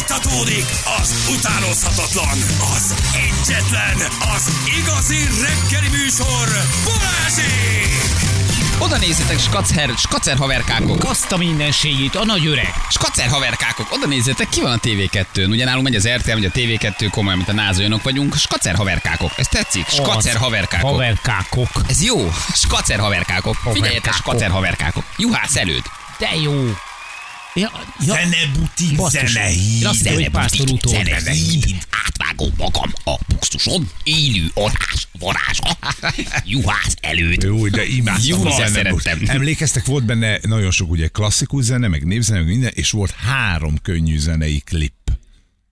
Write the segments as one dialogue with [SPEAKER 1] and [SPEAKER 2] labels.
[SPEAKER 1] Folytatódik az utánozhatatlan, az egyetlen, az igazi reggeli műsor, Balázsék!
[SPEAKER 2] Oda nézzetek, skacer, skacer haverkákok.
[SPEAKER 3] Azt a mindenségét, a nagy öreg.
[SPEAKER 2] Skacer haverkákok, oda nézzetek, ki van a TV2-n. Ugye nálunk megy az RTL, megy a TV2, komolyan, mint a NASA olyanok vagyunk. Skacer haverkákok, ez tetszik? Skacer
[SPEAKER 3] Az
[SPEAKER 2] haverkákok.
[SPEAKER 3] Haverkákok.
[SPEAKER 2] Ez jó, skacer haverkákok. Figyeljetek,
[SPEAKER 3] Haverkákok.
[SPEAKER 2] skacer haverkákok. Juhász előd.
[SPEAKER 3] De jó. Ja, ja.
[SPEAKER 1] Zenebutik,
[SPEAKER 3] Basszus. Én azt hittem, hogy pásztor úton.
[SPEAKER 2] Zenehíd. Átvágom magam a buxuson, élő orrás, varázsa. Juhász előd.
[SPEAKER 4] Jó, de imádtam.
[SPEAKER 2] Jó,
[SPEAKER 4] a
[SPEAKER 2] de
[SPEAKER 4] zenebut.
[SPEAKER 2] szerettem.
[SPEAKER 4] Emlékeztek, volt benne nagyon sok ugye klasszikus zene, meg népzene, meg minden, és volt három könnyű zenei klip.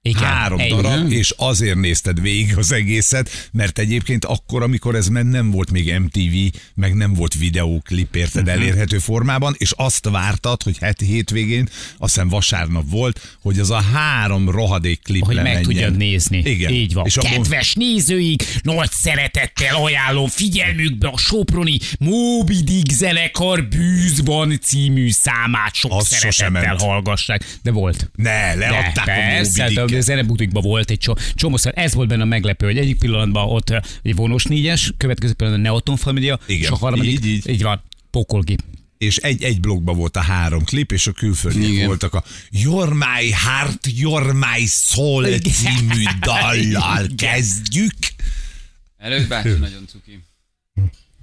[SPEAKER 3] Igen,
[SPEAKER 4] három
[SPEAKER 3] egy. Mhm.
[SPEAKER 4] darab, és azért nézted végig az egészet, mert egyébként akkor, amikor ez ment, nem volt még MTV, meg nem volt videóklip, érted,
[SPEAKER 3] Mhm.
[SPEAKER 4] elérhető formában, és azt vártad, hogy heti hétvégén, azt hiszem vasárnap volt, hogy az a három rohadék klip
[SPEAKER 3] Hogy
[SPEAKER 4] lemenjen.
[SPEAKER 3] meg tudjad nézni.
[SPEAKER 4] Igen.
[SPEAKER 3] Így van.
[SPEAKER 4] És
[SPEAKER 3] És
[SPEAKER 4] abban-
[SPEAKER 3] Kedves nézőik, nagy szeretettel ajánlom figyelmükbe a Soproni Moby Dick zenekar Bűzban című számát sok
[SPEAKER 4] Az sosem
[SPEAKER 3] szeretettel
[SPEAKER 4] ment.
[SPEAKER 3] hallgassák. De volt.
[SPEAKER 4] Ne, leadták
[SPEAKER 3] de,
[SPEAKER 4] a
[SPEAKER 3] persze,
[SPEAKER 4] Moby
[SPEAKER 3] de
[SPEAKER 4] Dicket.
[SPEAKER 3] a zenebutikban volt egy csomó, csomószor. Ez volt benne a meglepő, hogy egyik pillanatban ott ö, egy vonos négyes, következő pillanatban a Neoton Familia,
[SPEAKER 4] Igen,
[SPEAKER 3] és a harmadik,
[SPEAKER 4] így, így.
[SPEAKER 3] így van, pokolgép.
[SPEAKER 4] és egy, egy blokkban volt a három klip, és a külföldiek
[SPEAKER 2] Igen.
[SPEAKER 4] voltak a Your My Heart, Your My Soul című dallal kezdjük.
[SPEAKER 2] Előd bácsi, nagyon cuki.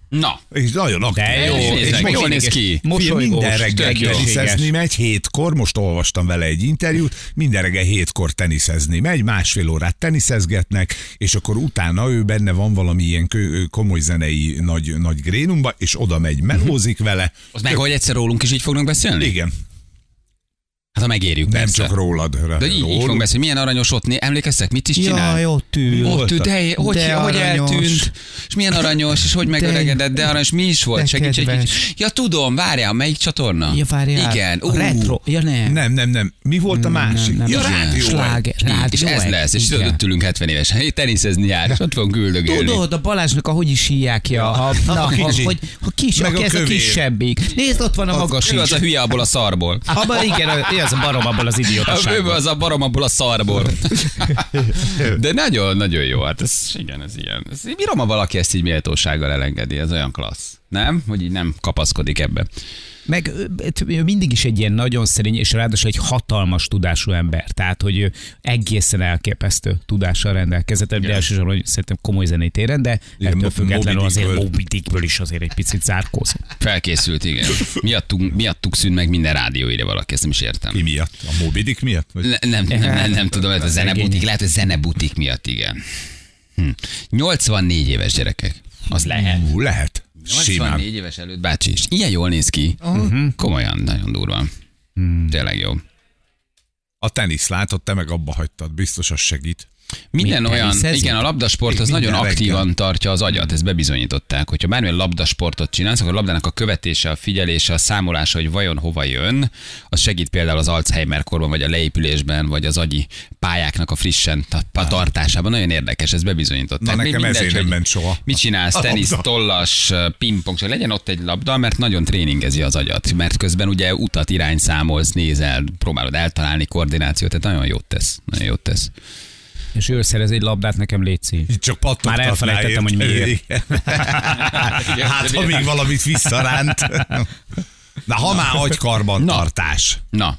[SPEAKER 2] Na,
[SPEAKER 4] És nagyon aktív.
[SPEAKER 2] jó, és nézzek,
[SPEAKER 4] most
[SPEAKER 2] jól néz
[SPEAKER 4] igen,
[SPEAKER 2] ki.
[SPEAKER 4] Figyelj,
[SPEAKER 3] Mosolygós,
[SPEAKER 4] minden reggel
[SPEAKER 2] tök jó.
[SPEAKER 4] teniszezni megy, hétkor, most olvastam vele egy interjút, minden reggel hétkor teniszezni megy, másfél órát teniszezgetnek, és akkor utána ő benne van valami ilyen kö, komoly zenei nagy, nagy grénumba, és oda megy, melózik vele.
[SPEAKER 2] az meg, hogy egyszer rólunk is így fognak beszélni?
[SPEAKER 4] Igen,
[SPEAKER 2] Hát ha megérjük,
[SPEAKER 4] nem
[SPEAKER 2] Mhm. persze.
[SPEAKER 4] csak rólad.
[SPEAKER 2] De így, így fogunk beszélni, milyen aranyos ott, né- emlékeztek, mit is csinál?
[SPEAKER 5] Jaj, ott ül.
[SPEAKER 2] Ott ül, de, hogy,
[SPEAKER 5] De
[SPEAKER 2] hogy
[SPEAKER 5] aranyos.
[SPEAKER 2] eltűnt, és milyen aranyos, és hogy megöregedett, de aranyos, mi is volt,
[SPEAKER 5] De
[SPEAKER 2] segíts egy kicsit.
[SPEAKER 5] kedves.
[SPEAKER 2] Ja, tudom, várjál, melyik csatorna?
[SPEAKER 5] Ja, várjál.
[SPEAKER 2] Igen,
[SPEAKER 5] A retro. Ja, nem.
[SPEAKER 4] Nem, nem, nem. Mi volt a másik?
[SPEAKER 5] nem,
[SPEAKER 4] ja,
[SPEAKER 5] nem.
[SPEAKER 4] rádió.
[SPEAKER 5] Sláger.
[SPEAKER 2] Rád, és ez
[SPEAKER 5] Rádió
[SPEAKER 2] lesz, és
[SPEAKER 5] Igen.
[SPEAKER 2] tudod, ülünk 70 évesen, hé, teniszezni jár, és ott fogunk üldögélni.
[SPEAKER 5] Tudod, a Balázsnak a hogy is hívják, ja, a, na, a,
[SPEAKER 4] kicsi.
[SPEAKER 5] hogy, a kis,
[SPEAKER 4] Meg
[SPEAKER 5] aki
[SPEAKER 4] a
[SPEAKER 5] ez a
[SPEAKER 4] kövér.
[SPEAKER 5] kisebbik. Nézd, ott van a magas
[SPEAKER 2] Ő az
[SPEAKER 5] is.
[SPEAKER 2] a hülye abból a szarból.
[SPEAKER 3] Hát, Abban igen, ő az a barom abból
[SPEAKER 4] Hát,
[SPEAKER 3] az
[SPEAKER 2] Ő
[SPEAKER 3] idiótaságból.
[SPEAKER 2] az a barom abból a szarból. De nagyon-nagyon jó, hát ez, igen, ez ilyen. Ez, bírom, ha valaki ezt így méltósággal elengedi, ez olyan klassz. Nem? Hogy így nem kapaszkodik ebbe.
[SPEAKER 3] Meg ö, ö, ő mindig is egy ilyen nagyon szerény, és ráadásul egy hatalmas tudású ember. Tehát, hogy ő egészen elképesztő tudással rendelkezett, de elsősorban hogy szerintem komoly zenei téren, de
[SPEAKER 4] Igen,
[SPEAKER 3] ettől
[SPEAKER 4] Mo-
[SPEAKER 3] függetlenül
[SPEAKER 4] Moby
[SPEAKER 3] azért
[SPEAKER 4] Dickből.
[SPEAKER 3] Moby Dickből is azért egy picit zárkózott.
[SPEAKER 2] Felkészült, igen. Miattuk, miattuk szűn meg minden rádió írja valaki, ezt nem is értem.
[SPEAKER 4] Mi miatt? A Moby Dick miatt? Vagy?
[SPEAKER 2] Ne, nem, nem, nem, nem tudom, lehet, hogy zenebutik,
[SPEAKER 3] szegény.
[SPEAKER 2] lehet, hogy zenebutik miatt, igen. Hm. 84 éves gyerekek. Az lehet.
[SPEAKER 4] Ú, lehet. Simán.
[SPEAKER 2] 84 éves előtt bácsi is. Ilyen jól néz ki. Uh-huh. Komolyan, nagyon durva. Tényleg jó.
[SPEAKER 4] A tenisz látod, te meg abba hagytad. Biztos az segít.
[SPEAKER 2] Minden
[SPEAKER 3] Mi
[SPEAKER 2] olyan,
[SPEAKER 3] teniszezik?
[SPEAKER 2] igen, a labdasport az
[SPEAKER 4] Minden
[SPEAKER 2] nagyon
[SPEAKER 4] reggel.
[SPEAKER 2] aktívan tartja az agyat, ezt bebizonyították. Hogyha bármilyen labdasportot csinálsz, akkor a labdának a követése, a figyelése, a számolása, hogy vajon hova jön, az segít például az Alzheimer korban, vagy a leépülésben, vagy az agyi pályáknak a frissen ta- pa- tartásában. Nagyon érdekes, ez bebizonyították.
[SPEAKER 4] Na,
[SPEAKER 2] Mi-
[SPEAKER 4] nekem
[SPEAKER 2] mindegy,
[SPEAKER 4] ezért nem
[SPEAKER 2] hogy
[SPEAKER 4] ment soha.
[SPEAKER 2] Mit csinálsz?
[SPEAKER 4] A
[SPEAKER 2] Tenisz,
[SPEAKER 4] labda.
[SPEAKER 2] tollas, pingpong, csak legyen ott egy labda, mert nagyon tréningezi az agyat, mert közben ugye utat irányszámolsz, nézel, próbálod eltalálni koordinációt, tehát nagyon jót tesz, nagyon jót tesz.
[SPEAKER 3] És ő szerez egy labdát, nekem létszik.
[SPEAKER 4] Itt csak pattogtatnál.
[SPEAKER 3] Már elfelejtettem, hogy miért.
[SPEAKER 4] Igen. hát, ha még valamit visszaránt. Na, ha már agykarbantartás.
[SPEAKER 2] Na,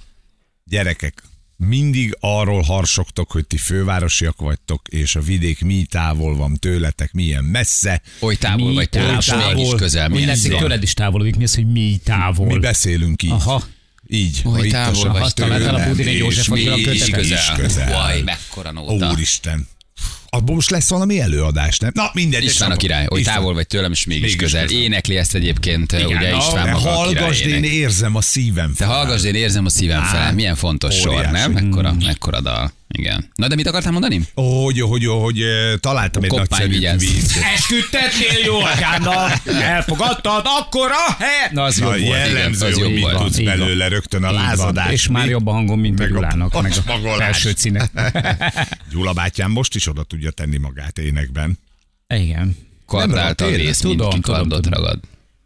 [SPEAKER 4] Gyerekek, mindig arról harsogtok, hogy ti fővárosiak vagytok, és a vidék mi távol van tőletek, milyen messze.
[SPEAKER 2] oly távol
[SPEAKER 3] Mi
[SPEAKER 2] vagy tőlem,
[SPEAKER 3] távol?
[SPEAKER 2] és mégis közel.
[SPEAKER 3] Mi
[SPEAKER 2] milyen
[SPEAKER 3] lesz,
[SPEAKER 2] szép.
[SPEAKER 3] tőled is távolodik, mi az, hogy mi távol?
[SPEAKER 4] Mi beszélünk így.
[SPEAKER 3] Aha.
[SPEAKER 4] Így.
[SPEAKER 2] Oly
[SPEAKER 4] ha itt a
[SPEAKER 2] távol
[SPEAKER 4] sav-
[SPEAKER 2] vagy
[SPEAKER 4] tőlem,
[SPEAKER 3] találtál a Budin
[SPEAKER 4] és
[SPEAKER 3] József Attila
[SPEAKER 4] mégis
[SPEAKER 2] Mégis
[SPEAKER 4] közel.
[SPEAKER 3] közel.
[SPEAKER 2] közel. Uaj, mekkora nóta.
[SPEAKER 4] Úristen. Abban most lesz valami előadás, nem? Na, mindegy.
[SPEAKER 2] István a király, oly
[SPEAKER 4] István.
[SPEAKER 2] távol vagy tőlem, és mégis
[SPEAKER 4] Mégis
[SPEAKER 2] közel.
[SPEAKER 4] közel.
[SPEAKER 2] Énekli ezt egyébként, ugye
[SPEAKER 4] Na,
[SPEAKER 2] István
[SPEAKER 4] de
[SPEAKER 2] maga a király
[SPEAKER 4] hallgasd, én
[SPEAKER 2] ének.
[SPEAKER 4] érzem a szívem
[SPEAKER 2] Te hallgass, én érzem a szívem fel. Milyen fontos sor,
[SPEAKER 4] óriási.
[SPEAKER 2] nem? Mekkora, mekkora dal. Igen. Na, de mit akartál mondani?
[SPEAKER 4] Hogy, hogy, hogy eh, találtam egy
[SPEAKER 2] Koppány
[SPEAKER 4] nagyszerű
[SPEAKER 2] vigyázz.
[SPEAKER 4] víz.
[SPEAKER 3] Esküdtetnél jól, Kánnal! Elfogadtad, akkora he! Na, az
[SPEAKER 4] A
[SPEAKER 3] jobb volt.
[SPEAKER 4] jellemző,
[SPEAKER 2] igen, az
[SPEAKER 4] hogy
[SPEAKER 2] jobb
[SPEAKER 4] mit
[SPEAKER 2] volt.
[SPEAKER 4] tudsz
[SPEAKER 3] Így van.
[SPEAKER 4] belőle rögtön a
[SPEAKER 3] Így van.
[SPEAKER 4] lázadás.
[SPEAKER 3] És már
[SPEAKER 4] mi?
[SPEAKER 3] jobb a hangom, mint a
[SPEAKER 4] Meg a
[SPEAKER 3] Gyulának, meg a
[SPEAKER 4] pacsmagolás.
[SPEAKER 3] felső cínek.
[SPEAKER 4] Gyula bátyám most is oda tudja tenni magát énekben.
[SPEAKER 3] Igen.
[SPEAKER 2] Kardáltal
[SPEAKER 4] ragad,
[SPEAKER 2] rész,
[SPEAKER 3] tényleg. Tudom,
[SPEAKER 2] mindenki
[SPEAKER 3] tudom,
[SPEAKER 2] kardot
[SPEAKER 3] tudom.
[SPEAKER 2] ragad.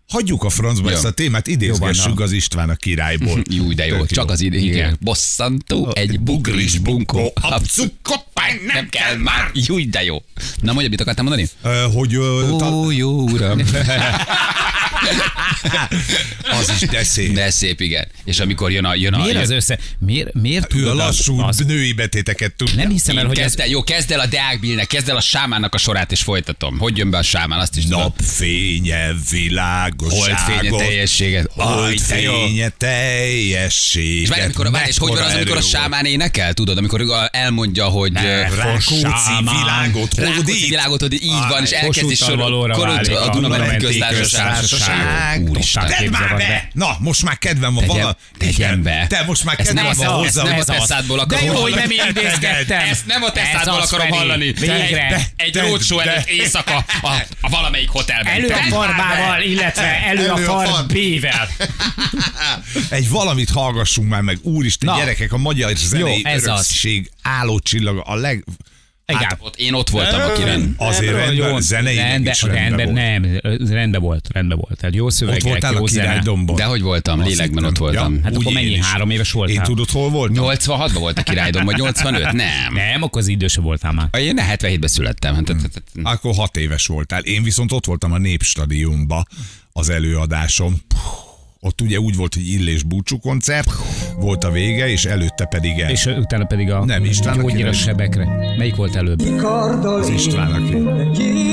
[SPEAKER 4] hagyjuk a francba
[SPEAKER 2] Jó.
[SPEAKER 4] ezt a témát, idézgessük az István a királyból.
[SPEAKER 2] Jú, de jó,
[SPEAKER 4] Tök
[SPEAKER 2] csak az idén. Igen.
[SPEAKER 3] Igen.
[SPEAKER 2] Bosszantó, egy bugris bunkó, abcukot nem kell már. Jú, de jó. Na mondja, mit akartam mondani?
[SPEAKER 4] Ö, Hogy ö, ta-
[SPEAKER 2] Ó, jó uram.
[SPEAKER 4] az is teszél.
[SPEAKER 2] De szép, igen. És amikor jön a... Jön a
[SPEAKER 3] Miért
[SPEAKER 2] jön,
[SPEAKER 3] az össze... Miért, miért
[SPEAKER 4] Hát Ő a
[SPEAKER 3] tudod az-
[SPEAKER 4] lassú
[SPEAKER 3] az...
[SPEAKER 4] női betéteket tud.
[SPEAKER 3] Nem hiszem el,
[SPEAKER 2] Én
[SPEAKER 3] hogy ez...
[SPEAKER 2] kezd el, jó, kezd el a Deák Billnek, kezd el a sámának a sorát, és folytatom. Hogy jön be a sámán, azt is tudom.
[SPEAKER 4] Napfénye,
[SPEAKER 2] Holdfénye,
[SPEAKER 4] világosságot.
[SPEAKER 2] teljességet. Aj, de jó.
[SPEAKER 4] Holdfénye,
[SPEAKER 2] És
[SPEAKER 4] teljességet.
[SPEAKER 2] várj, amikor a, várj, és hogy van az, amikor a sámán énekel, tudod, amikor ő elmondja, hogy... ö,
[SPEAKER 4] Rákóczi
[SPEAKER 3] Sámán.
[SPEAKER 4] világot
[SPEAKER 2] Rákóczi
[SPEAKER 4] hódít.
[SPEAKER 2] világot, hogy így van, és
[SPEAKER 3] Aj,
[SPEAKER 2] elkezdi
[SPEAKER 3] Kossuth
[SPEAKER 2] sorolni.
[SPEAKER 3] Alvalóra válik
[SPEAKER 2] a
[SPEAKER 3] a
[SPEAKER 2] Dunamenti
[SPEAKER 4] Dunamenti
[SPEAKER 2] köztársaság.
[SPEAKER 4] Köztársaság.
[SPEAKER 2] Úristen.
[SPEAKER 4] Tedd már be! Na, most már kedvem van.
[SPEAKER 2] Tegyen,
[SPEAKER 4] van a-
[SPEAKER 2] tegyen be.
[SPEAKER 4] Te most már
[SPEAKER 2] ezt nem
[SPEAKER 4] kedvem
[SPEAKER 2] a,
[SPEAKER 4] van
[SPEAKER 2] ezt
[SPEAKER 4] hozzá.
[SPEAKER 2] nem a
[SPEAKER 4] hozzá.
[SPEAKER 2] teszádból akarom
[SPEAKER 3] De jó, hogy nem
[SPEAKER 2] hallani.
[SPEAKER 3] én idézgettem.
[SPEAKER 2] Ezt nem a
[SPEAKER 3] Ez
[SPEAKER 2] teszádból
[SPEAKER 3] az,
[SPEAKER 2] akarom
[SPEAKER 3] Feri.
[SPEAKER 2] hallani.
[SPEAKER 3] Végre.
[SPEAKER 2] Egy- Egy
[SPEAKER 4] De-
[SPEAKER 2] rócsó
[SPEAKER 4] de-
[SPEAKER 2] előtt éjszaka a, a valamelyik hotelben.
[SPEAKER 3] Elő a
[SPEAKER 2] Tedd már be!
[SPEAKER 3] farbával, illetve elő,
[SPEAKER 4] Elő a
[SPEAKER 3] a
[SPEAKER 4] farb. Hát
[SPEAKER 3] farb B-vel.
[SPEAKER 4] Egy valamit hallgassunk már meg. Úristen,
[SPEAKER 3] Na.
[SPEAKER 4] gyerekek, a magyar zenei
[SPEAKER 3] ez az.
[SPEAKER 4] örökség állócsillaga a leg...
[SPEAKER 3] Igen.
[SPEAKER 2] Hát Ott én ott voltam a kiren.
[SPEAKER 4] Azért
[SPEAKER 3] Nem,
[SPEAKER 4] rendben,
[SPEAKER 3] nagyon-
[SPEAKER 4] zeneileg
[SPEAKER 3] rende-
[SPEAKER 4] is rendben volt.
[SPEAKER 3] Nem, ö, rendben volt, rendben volt. Tehát jó
[SPEAKER 4] Ott
[SPEAKER 3] szövegek,
[SPEAKER 4] voltál a
[SPEAKER 3] jó zene.
[SPEAKER 4] királydomban.
[SPEAKER 2] De hogy voltam,
[SPEAKER 4] Azt
[SPEAKER 2] lélekben
[SPEAKER 4] hittem.
[SPEAKER 2] ott voltam.
[SPEAKER 4] Ja,
[SPEAKER 3] Hát
[SPEAKER 4] Úgy
[SPEAKER 3] akkor mennyi,
[SPEAKER 4] én is.
[SPEAKER 3] három éves voltál?
[SPEAKER 4] Én tudod, hol voltam?
[SPEAKER 2] 86-ban volt a királydom, vagy 85? Nem.
[SPEAKER 3] Nem, akkor az idősebb voltál már.
[SPEAKER 2] Én 77-ben születtem. Hát, hát, hát,
[SPEAKER 3] Hmm.
[SPEAKER 2] hát.
[SPEAKER 4] Akkor hat éves voltál. Én viszont ott voltam a Népstadionba az előadásom. Puh, Ott ugye úgy volt, hogy Illés búcsú koncert, volt a vége, és előtte pedig el.
[SPEAKER 3] És ö, utána pedig a
[SPEAKER 4] Nem, István a
[SPEAKER 3] gyógyír a
[SPEAKER 4] király.
[SPEAKER 3] sebekre. Melyik volt előbb?
[SPEAKER 4] az István, aki...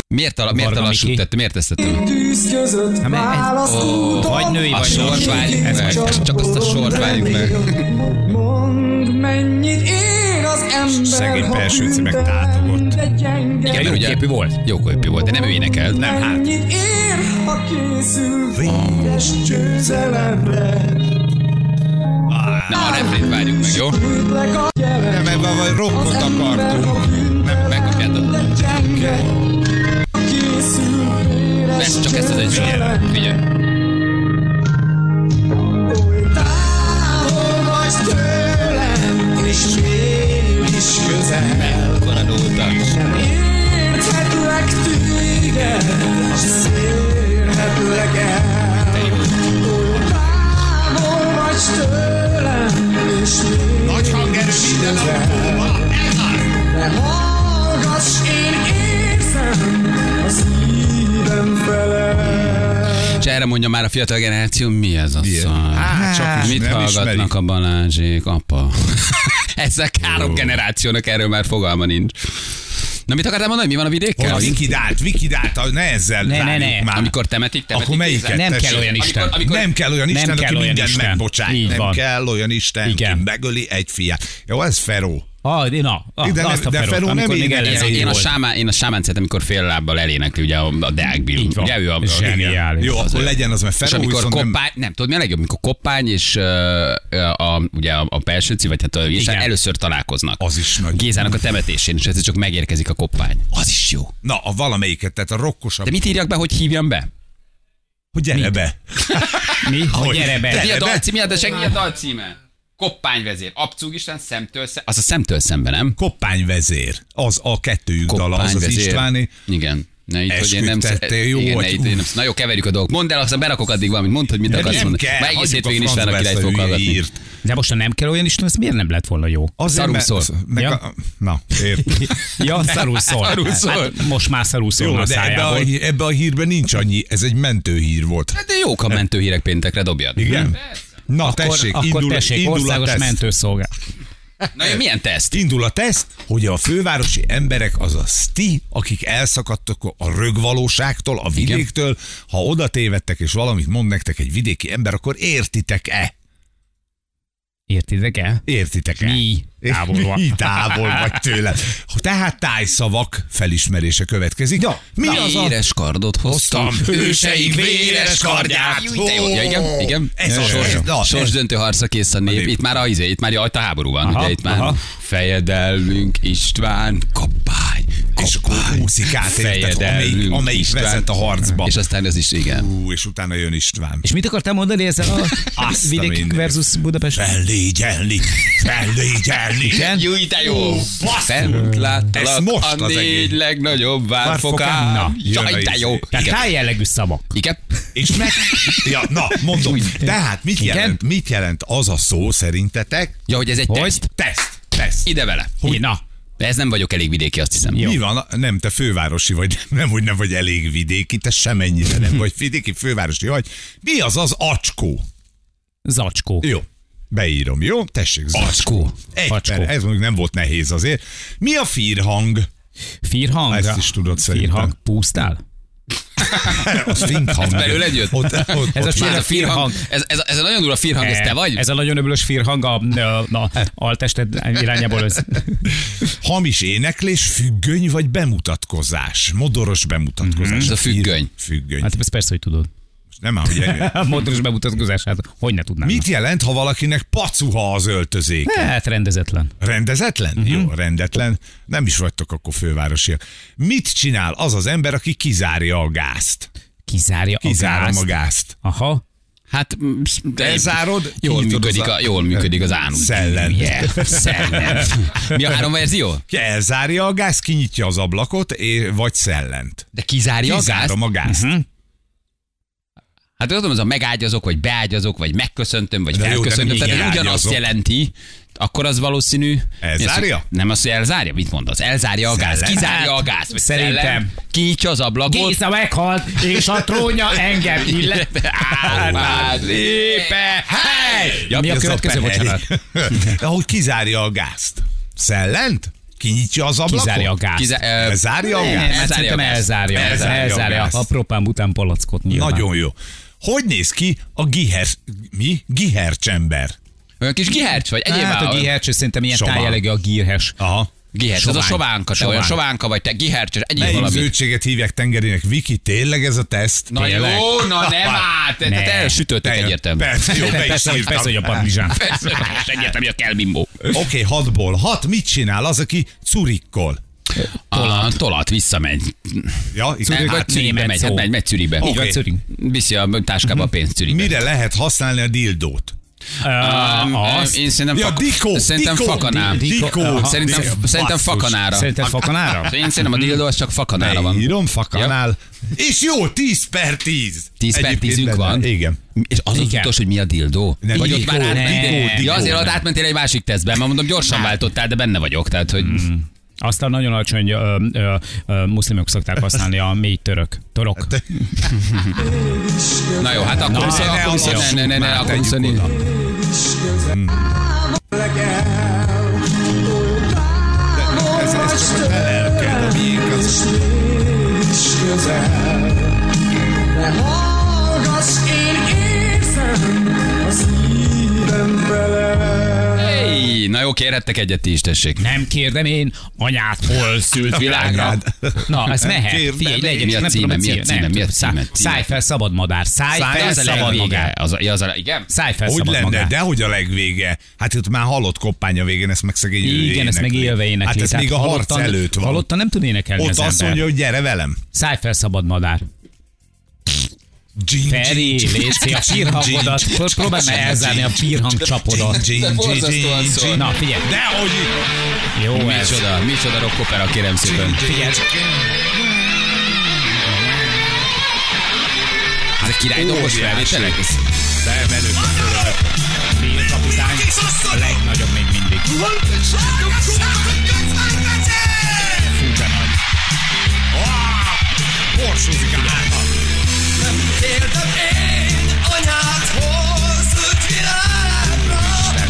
[SPEAKER 2] Miért, tal- miért
[SPEAKER 3] Varga
[SPEAKER 2] talassult
[SPEAKER 3] Miki.
[SPEAKER 2] tett? Miért tesztettem?
[SPEAKER 3] Hát, mert ez-
[SPEAKER 2] Vagy női, a
[SPEAKER 3] vagy
[SPEAKER 2] sort
[SPEAKER 3] női.
[SPEAKER 2] várjuk
[SPEAKER 3] Ez
[SPEAKER 2] meg. Csak azt a sort várjuk meg.
[SPEAKER 6] Mondd, mennyit ér az ember,
[SPEAKER 4] Szegény
[SPEAKER 6] ha
[SPEAKER 4] Pelsőci meg
[SPEAKER 6] bűnben
[SPEAKER 4] tátogott.
[SPEAKER 6] de gyenge.
[SPEAKER 2] Igen,
[SPEAKER 3] Jó
[SPEAKER 2] ugye-
[SPEAKER 3] képű volt.
[SPEAKER 2] Jó képű volt, de nem ő énekel. Nem, hát-
[SPEAKER 6] Mennyit ér, ha készül véges győzelemre.
[SPEAKER 2] nem a refrét várjuk meg, jó?
[SPEAKER 6] Üdlek a gyerek,
[SPEAKER 4] Nem, ebben vagy rockot
[SPEAKER 6] az ember,
[SPEAKER 4] akartunk.
[SPEAKER 6] ha bűnben
[SPEAKER 2] Megkapjátok.
[SPEAKER 6] de gyenge. Ha készül véres
[SPEAKER 2] Vesz csak ezt az egy sort.
[SPEAKER 6] győzelemre.
[SPEAKER 2] Figyelj.
[SPEAKER 6] Oly távol vagy tőlem, és mégis közel.
[SPEAKER 2] Mekkora nóta.
[SPEAKER 6] Érthetlek téged, s érhetlek el.
[SPEAKER 2] Te jó.
[SPEAKER 6] Oly távol vagy tőlem, és
[SPEAKER 4] Nagy hangerő minden autóba. Ez az!
[SPEAKER 6] ne hallgass, én érzem, a szívem felel.
[SPEAKER 2] És erre mondja már a fiatal generáció, mi ez a szar?
[SPEAKER 4] Hát, csak is
[SPEAKER 2] Mit
[SPEAKER 4] nem
[SPEAKER 2] hallgatnak
[SPEAKER 4] ismerik.
[SPEAKER 2] a Balázsék, apa? Ezek három generációnak erről már fogalma nincs. Na mit akartál mondani, mi van a vidékkel?
[SPEAKER 4] Hol vikidált, vikidált, ne ezzel
[SPEAKER 3] Ne, ne,
[SPEAKER 4] várjuk
[SPEAKER 3] ne.
[SPEAKER 4] már.
[SPEAKER 2] Amikor temetik, temetik.
[SPEAKER 4] Akkor melyiket?
[SPEAKER 2] kézzel.
[SPEAKER 3] Nem
[SPEAKER 4] tessék?
[SPEAKER 3] kell olyan Isten.
[SPEAKER 2] Amikor- amikor-
[SPEAKER 4] Nem kell olyan
[SPEAKER 3] Nem
[SPEAKER 4] Isten,
[SPEAKER 3] kell
[SPEAKER 4] aki
[SPEAKER 3] olyan
[SPEAKER 4] mindent
[SPEAKER 3] Isten.
[SPEAKER 4] megbocsát.
[SPEAKER 3] Így
[SPEAKER 4] Nem
[SPEAKER 3] van.
[SPEAKER 4] kell olyan Isten, ki
[SPEAKER 3] Igen.
[SPEAKER 4] megöli egy fiát. Jó, ez Feró.
[SPEAKER 3] Ah, na, ah,
[SPEAKER 4] De
[SPEAKER 3] de
[SPEAKER 4] nem-
[SPEAKER 3] azt a
[SPEAKER 4] de
[SPEAKER 3] Ferót,
[SPEAKER 4] Feró nem
[SPEAKER 3] amikor még
[SPEAKER 4] énekel,
[SPEAKER 2] Én,
[SPEAKER 3] ellenzéki
[SPEAKER 2] én, a
[SPEAKER 3] volt.
[SPEAKER 2] sámán, én a sámán szeretem, amikor fél lábbal elénekli ugye a, a Deák Bill.
[SPEAKER 3] Így van.
[SPEAKER 2] Ugye ő a,
[SPEAKER 3] Zseniális.
[SPEAKER 4] Jó,
[SPEAKER 2] az
[SPEAKER 4] akkor
[SPEAKER 2] ő.
[SPEAKER 4] legyen az, mert
[SPEAKER 2] És
[SPEAKER 4] Feró
[SPEAKER 2] amikor
[SPEAKER 4] viszont
[SPEAKER 2] koppány,
[SPEAKER 4] nem...
[SPEAKER 2] nem... tudod mi a legjobb, amikor koppány és ö, ö, a, ugye a, a Pelsőci, vagy hát a, és
[SPEAKER 3] Igen.
[SPEAKER 2] először találkoznak.
[SPEAKER 4] Az is nagy.
[SPEAKER 2] Gézának a temetésén, és ez csak megérkezik a koppány. Az is jó.
[SPEAKER 4] Na, a valamelyiket, tehát a rokkosabb.
[SPEAKER 2] De mit írjak be, hogy hívjam be?
[SPEAKER 4] Hogy gyere be.
[SPEAKER 3] Mi? Hogy gyere be.
[SPEAKER 2] Mi a
[SPEAKER 4] Be-
[SPEAKER 2] dalcím, mi a, de senki a dalcíme? Koppányvezér, abcúg Isten, szemtől szem... Az a szemtől szembe, nem?
[SPEAKER 4] Koppány vezér. Az a kettőjük dala, az az
[SPEAKER 2] Koppányvezér.
[SPEAKER 4] Istváni.
[SPEAKER 2] Igen. Ne itt, hogy én nem
[SPEAKER 4] Esküdtettél, jó
[SPEAKER 2] igen, ne
[SPEAKER 4] vagy.
[SPEAKER 2] itt, én nem, na jó, keverjük a dolgok. Mondd el, aztán berakok addig valamit, mondd, hogy mit
[SPEAKER 4] De
[SPEAKER 2] akarsz
[SPEAKER 4] nem
[SPEAKER 2] mondani.
[SPEAKER 4] kell,
[SPEAKER 2] Már egész
[SPEAKER 4] hagyjuk a
[SPEAKER 2] hétvégén István a
[SPEAKER 4] francba
[SPEAKER 2] királyt
[SPEAKER 4] ezt a
[SPEAKER 2] fogok
[SPEAKER 4] hülye
[SPEAKER 2] hallgatni.
[SPEAKER 4] írt.
[SPEAKER 3] De most, ha nem kell olyan Isten, az miért nem lett volna jó?
[SPEAKER 4] Azért,
[SPEAKER 2] Szarul
[SPEAKER 4] mert-
[SPEAKER 2] szól.
[SPEAKER 4] meg
[SPEAKER 3] Ja.
[SPEAKER 4] a- Na, értem.
[SPEAKER 3] Ja, szarul szól.
[SPEAKER 2] Szarul szól.
[SPEAKER 3] Hát most már szarul szól
[SPEAKER 4] Jó,
[SPEAKER 3] a
[SPEAKER 4] de ebbe a,
[SPEAKER 3] szájából.
[SPEAKER 4] hí- ebbe a hírben nincs annyi, ez egy mentőhír volt.
[SPEAKER 2] Hát de jók a mentőhírek péntekre, dobjad.
[SPEAKER 4] Igen? Na,
[SPEAKER 3] Akkor,
[SPEAKER 4] tessék,
[SPEAKER 3] akkor
[SPEAKER 4] indul,
[SPEAKER 3] tessék,
[SPEAKER 4] indul a
[SPEAKER 3] országos
[SPEAKER 4] teszt.
[SPEAKER 3] mentőszolgálat.
[SPEAKER 2] Na jó, milyen teszt?
[SPEAKER 4] Indul a teszt, hogy a fővárosi emberek, azaz ti, akik elszakadtok a rögvalóságtól, a vidéktől, ha oda tévedtek és valamit mond nektek egy vidéki ember, akkor értitek-e?
[SPEAKER 3] Értitek el?
[SPEAKER 4] Értitek-e?
[SPEAKER 3] Mi? Távol van.
[SPEAKER 4] Mi távol vagy tőle. Tehát tájszavak felismerése következik. Ja, mi az a...
[SPEAKER 2] Véres kardot hoztam,
[SPEAKER 4] őseink véres kardját.
[SPEAKER 2] Júj, de jó. Ja, igen, igen.
[SPEAKER 4] Ez
[SPEAKER 2] Ja,
[SPEAKER 4] az,
[SPEAKER 2] sors,
[SPEAKER 4] ez az.
[SPEAKER 2] sorsdöntő harca kész a nép. Itt már a, izé, itt már a, itt a háború van,
[SPEAKER 3] Aha,
[SPEAKER 2] ugye itt már
[SPEAKER 3] aha.
[SPEAKER 2] fejedelmünk István, kampány,
[SPEAKER 4] és akkor úszik át, érted,
[SPEAKER 2] Fejedelünk
[SPEAKER 4] amelyik, amelyik
[SPEAKER 2] István.
[SPEAKER 4] vezet a harcba.
[SPEAKER 2] És aztán ez is, igen.
[SPEAKER 4] Ú, és utána jön István.
[SPEAKER 3] És mit akartál mondani ezzel a
[SPEAKER 4] Azt a
[SPEAKER 3] vidék
[SPEAKER 4] mindenit.
[SPEAKER 3] versus Budapest?
[SPEAKER 4] Fellégyelni, fellégyelni.
[SPEAKER 2] Júj, de jó! Fent
[SPEAKER 4] Ez
[SPEAKER 2] láttalak
[SPEAKER 4] most
[SPEAKER 2] a
[SPEAKER 4] az
[SPEAKER 2] négy
[SPEAKER 4] egész.
[SPEAKER 2] legnagyobb
[SPEAKER 4] Várfokám. Na,
[SPEAKER 2] várfokám.
[SPEAKER 4] jön a
[SPEAKER 2] Jaj, de
[SPEAKER 4] izé.
[SPEAKER 2] jó!
[SPEAKER 3] Tehát
[SPEAKER 2] Igen.
[SPEAKER 3] táj jellegű szavak.
[SPEAKER 2] Igen.
[SPEAKER 4] És meg... Ja, na, mondom. Tehát mit
[SPEAKER 3] Igen?
[SPEAKER 4] jelent, mit jelent az a szó szerintetek?
[SPEAKER 2] Ja, hogy ez egy teszt.
[SPEAKER 4] Teszt, teszt.
[SPEAKER 2] Ide vele.
[SPEAKER 3] Hogy? Na,
[SPEAKER 2] De ez nem vagyok elég vidéki, azt hiszem.
[SPEAKER 4] Mi van? Nem, te fővárosi vagy, nem, hogy nem vagy elég vidéki, te semennyire nem vagy vidéki, fővárosi vagy. Mi az az acskó?
[SPEAKER 3] zacskó.
[SPEAKER 4] Jó. Beírom, jó? Tessék, zacskó.
[SPEAKER 3] Acskó.
[SPEAKER 4] Egy
[SPEAKER 3] Acskó.
[SPEAKER 4] per, ez mondjuk nem volt nehéz azért. Mi a firhang?
[SPEAKER 3] Firhang.
[SPEAKER 4] Ezt is tudod szerintem.
[SPEAKER 3] Firhang. Pusztál?
[SPEAKER 4] Az finghang.
[SPEAKER 2] Ez belőled jött?
[SPEAKER 4] Ott, ott, ott,
[SPEAKER 3] Ez a
[SPEAKER 2] Ez a
[SPEAKER 3] Már firhang.
[SPEAKER 2] firhang, ez, ez, ez a nagyon durva firhang, Hát ez te vagy?
[SPEAKER 3] E- Ez a nagyon öblös firhang a, a, a altested irányából. Ez.
[SPEAKER 4] Hamis éneklés, függöny vagy bemutatkozás? Modoros bemutatkozás.
[SPEAKER 2] Ez a függöny.
[SPEAKER 4] Függöny. Hát,
[SPEAKER 3] Hát ezt persze, hogy tudod.
[SPEAKER 4] nem ám, hogy
[SPEAKER 3] A motoros bemutatkozását, hogy ne tudnám.
[SPEAKER 4] Mit jelent, ha valakinek pacuha az öltözék?
[SPEAKER 3] Hát rendezetlen.
[SPEAKER 2] Mhm.
[SPEAKER 4] Rendezetlen? Uh-huh. Jó, rendetlen. Nem is vagytok akkor fővárosiak. Mit csinál az az ember, aki kizárja a gázt?
[SPEAKER 3] Kizárja a
[SPEAKER 4] Kizárom
[SPEAKER 3] gázt.
[SPEAKER 4] a gázt.
[SPEAKER 3] Aha.
[SPEAKER 2] Hát, mm, de
[SPEAKER 4] Elzárod,
[SPEAKER 2] jól
[SPEAKER 4] kinyitod
[SPEAKER 2] működik,
[SPEAKER 4] az
[SPEAKER 2] a,
[SPEAKER 4] a-
[SPEAKER 2] jól működik az ánus.
[SPEAKER 4] Szellem.
[SPEAKER 2] Yeah, szellem. Mi a három verzió?
[SPEAKER 4] Elzárja a gázt, kinyitja az ablakot, és, vagy szellent.
[SPEAKER 2] De kizárja a gázt? Mhm.
[SPEAKER 4] Kizárom a gázt. Uh-huh.
[SPEAKER 2] Hát tudom, az a megágyazok, vagy beágyazok, vagy megköszöntöm, vagy
[SPEAKER 4] De jó, de
[SPEAKER 2] felköszöntöm.
[SPEAKER 4] nem
[SPEAKER 2] Tehát ez
[SPEAKER 4] így
[SPEAKER 2] ugyanazt
[SPEAKER 4] ágyazok.
[SPEAKER 2] jelenti, akkor az valószínű... mi az, hogy-
[SPEAKER 4] Elzárja?
[SPEAKER 2] Nem az, hogy elzárja? Mit mondasz? Elzárja a gáz,
[SPEAKER 4] Szellem.
[SPEAKER 2] kizárja a gáz. vagy
[SPEAKER 3] Szerintem.
[SPEAKER 2] szellem, Kinyitja az ablakot.
[SPEAKER 3] Géza meghalt, és a trónja engem illet.
[SPEAKER 2] Álmát lépe, hely! Ja, mi a következő, bocsánat?
[SPEAKER 4] Ahogy kizárja a gázt. Szellent? Kinyitja az ablakot?
[SPEAKER 3] Kizárja a gázt.
[SPEAKER 2] Kizá- ö,
[SPEAKER 4] Elzárja a
[SPEAKER 2] nem,
[SPEAKER 4] gázt?
[SPEAKER 2] elzárja
[SPEAKER 3] hát Szerintem
[SPEAKER 2] a gázt.
[SPEAKER 3] elzárja.
[SPEAKER 4] Elzárja a
[SPEAKER 3] Elzárja. elzárja.
[SPEAKER 4] gázt.
[SPEAKER 3] A propán után palackot nyilván.
[SPEAKER 4] Nagyon jó. hát. Hogy néz ki a giher... Mi? Gihercsember.
[SPEAKER 2] Olyan kis gihercs vagy, egyéb
[SPEAKER 3] Hát a
[SPEAKER 2] állam.
[SPEAKER 3] gírhercs, szerintem ilyen
[SPEAKER 4] Sovány.
[SPEAKER 3] tájjelege a gírhes.
[SPEAKER 4] Aha.
[SPEAKER 2] Gihercs, az a
[SPEAKER 3] Sovány.
[SPEAKER 2] sovánka, te
[SPEAKER 3] Sovány.
[SPEAKER 2] olyan sovánka vagy, te gihercs, egyéb
[SPEAKER 4] Melyik
[SPEAKER 2] valami.
[SPEAKER 4] zöldséget hívják tengerinek? Viki, tényleg ez a teszt?
[SPEAKER 2] Na
[SPEAKER 4] Tényleg?
[SPEAKER 2] jó, na nem át, te-
[SPEAKER 3] Ne.
[SPEAKER 2] tehát elsütöttek
[SPEAKER 4] Tényleg.
[SPEAKER 2] egyértelműen.
[SPEAKER 4] Persze, jó, be is
[SPEAKER 3] Persze, hogy,
[SPEAKER 4] írtam.
[SPEAKER 3] persze, hogy a partizsán.
[SPEAKER 2] Persze, és Hát egyértelmű, hogy a kell bimbó.
[SPEAKER 4] Oké, hatból. Hat, mit csinál az, aki curikkol?
[SPEAKER 2] Tolat. Tolat, visszamegy.
[SPEAKER 4] Ja, igen.
[SPEAKER 2] Nem,
[SPEAKER 4] Hát,
[SPEAKER 2] hát Zürichbe
[SPEAKER 3] német
[SPEAKER 2] megy,
[SPEAKER 3] szó.
[SPEAKER 2] hát megy, megy Zürichbe.
[SPEAKER 4] Így van,
[SPEAKER 2] Oké. Mhm.
[SPEAKER 3] Zürich.
[SPEAKER 2] Viszi a táskába a pénzt Zürichbe.
[SPEAKER 4] Mire lehet használni a dildót?
[SPEAKER 2] Um,
[SPEAKER 3] Azt?
[SPEAKER 2] Én szerintem,
[SPEAKER 4] Ja,
[SPEAKER 2] fak-
[SPEAKER 4] dikó,
[SPEAKER 2] szerintem
[SPEAKER 4] dikó,
[SPEAKER 2] fakaná.
[SPEAKER 4] dikó,
[SPEAKER 2] Aha.
[SPEAKER 4] dikó.
[SPEAKER 2] Szerintem,
[SPEAKER 4] Basszus.
[SPEAKER 2] szerintem Mhm. fakanára.
[SPEAKER 3] Szerinted fakanára?
[SPEAKER 2] Én szerintem a dildo az csak fakanára van.
[SPEAKER 4] Írom, fakanál. És jó, 10 per 10.
[SPEAKER 2] 10 per
[SPEAKER 4] Egyébként
[SPEAKER 2] 10-ünk
[SPEAKER 4] benne.
[SPEAKER 2] van.
[SPEAKER 4] Igen.
[SPEAKER 2] És az az
[SPEAKER 3] Igen.
[SPEAKER 2] utolsó, hogy mi a dildó?
[SPEAKER 4] Nem,
[SPEAKER 2] Vagy ott
[SPEAKER 4] dikó,
[SPEAKER 2] már
[SPEAKER 4] dikó,
[SPEAKER 2] átmentél.
[SPEAKER 4] dikó.
[SPEAKER 2] Ja, azért ott átmentél egy másik tesztbe, mert mondom, gyorsan váltottál, de benne vagyok. Tehát, hogy
[SPEAKER 3] Aztán nagyon alacsony ö, ö, ö, muszlimok szokták használni a mély török. Torok.
[SPEAKER 2] Na jó, hát akkor viszont,
[SPEAKER 4] ne
[SPEAKER 2] akkor viszont,
[SPEAKER 4] alsunk
[SPEAKER 2] ne, ne, ne,
[SPEAKER 4] már,
[SPEAKER 2] akkor
[SPEAKER 4] tegyük
[SPEAKER 2] viszont,
[SPEAKER 4] oda. Ez, ez csak a te lelked, a miénk az
[SPEAKER 2] Hey, na jó, kérhettek egyet ti is, tessék.
[SPEAKER 3] Nem kérdem én, anyát hol szült világra.
[SPEAKER 4] Anyád.
[SPEAKER 3] Na, ez mehet.
[SPEAKER 4] Kérdem
[SPEAKER 3] Figyelj,
[SPEAKER 4] én.
[SPEAKER 3] legyen,
[SPEAKER 2] Mi a
[SPEAKER 3] csak nem
[SPEAKER 2] címe,
[SPEAKER 3] tudom
[SPEAKER 2] mi a
[SPEAKER 3] címet,
[SPEAKER 2] címe,
[SPEAKER 3] nem
[SPEAKER 2] mi a
[SPEAKER 3] tudom, szá-
[SPEAKER 2] címe?
[SPEAKER 3] Szállj fel, szabad madár. Szállj fel,
[SPEAKER 2] Az a
[SPEAKER 3] szabad
[SPEAKER 2] legvége.
[SPEAKER 3] magár.
[SPEAKER 2] Az a, ja, az a, igen?
[SPEAKER 3] Szállj fel,
[SPEAKER 4] Hogy
[SPEAKER 3] szabad
[SPEAKER 4] lenne,
[SPEAKER 3] magár.
[SPEAKER 4] de hogy a legvége? Hát itt már halott koppány a végén, ezt meg szegény ő
[SPEAKER 3] Igen, ezt meg
[SPEAKER 4] énekli.
[SPEAKER 3] élve énekli.
[SPEAKER 4] Hát ez
[SPEAKER 3] Tehát
[SPEAKER 4] még a harc
[SPEAKER 3] halottan-
[SPEAKER 4] előtt van.
[SPEAKER 3] Halottan nem tud énekelni
[SPEAKER 4] Ott
[SPEAKER 3] az
[SPEAKER 4] azt
[SPEAKER 3] ember.
[SPEAKER 4] mondja, hogy gyere velem.
[SPEAKER 3] Szállj fel, szabad madár.
[SPEAKER 4] Dzsing,
[SPEAKER 3] Feri,
[SPEAKER 4] dzsing, dzsing,
[SPEAKER 3] léci a
[SPEAKER 4] dzsing,
[SPEAKER 3] pírhangodat.
[SPEAKER 4] dzsing, dzsing,
[SPEAKER 3] Próbáld meg
[SPEAKER 4] dzsing,
[SPEAKER 3] elzárni a pírhang csapodat.
[SPEAKER 4] dzsing,
[SPEAKER 2] De
[SPEAKER 4] dzsing,
[SPEAKER 2] borzasztóan
[SPEAKER 4] dzsing,
[SPEAKER 2] szól.
[SPEAKER 3] Na, figyelj.
[SPEAKER 4] Dehogy itt.
[SPEAKER 3] Jó ez.
[SPEAKER 2] Micsoda, micsoda rock opera, kérem szépen.
[SPEAKER 3] Figyelj,
[SPEAKER 2] Ez egy király dobos
[SPEAKER 4] Óriási.
[SPEAKER 2] felvételek?
[SPEAKER 4] De menő.
[SPEAKER 3] kapitány, a legnagyobb még mindig. Fú, de nagy.
[SPEAKER 4] Borsózik a hátam.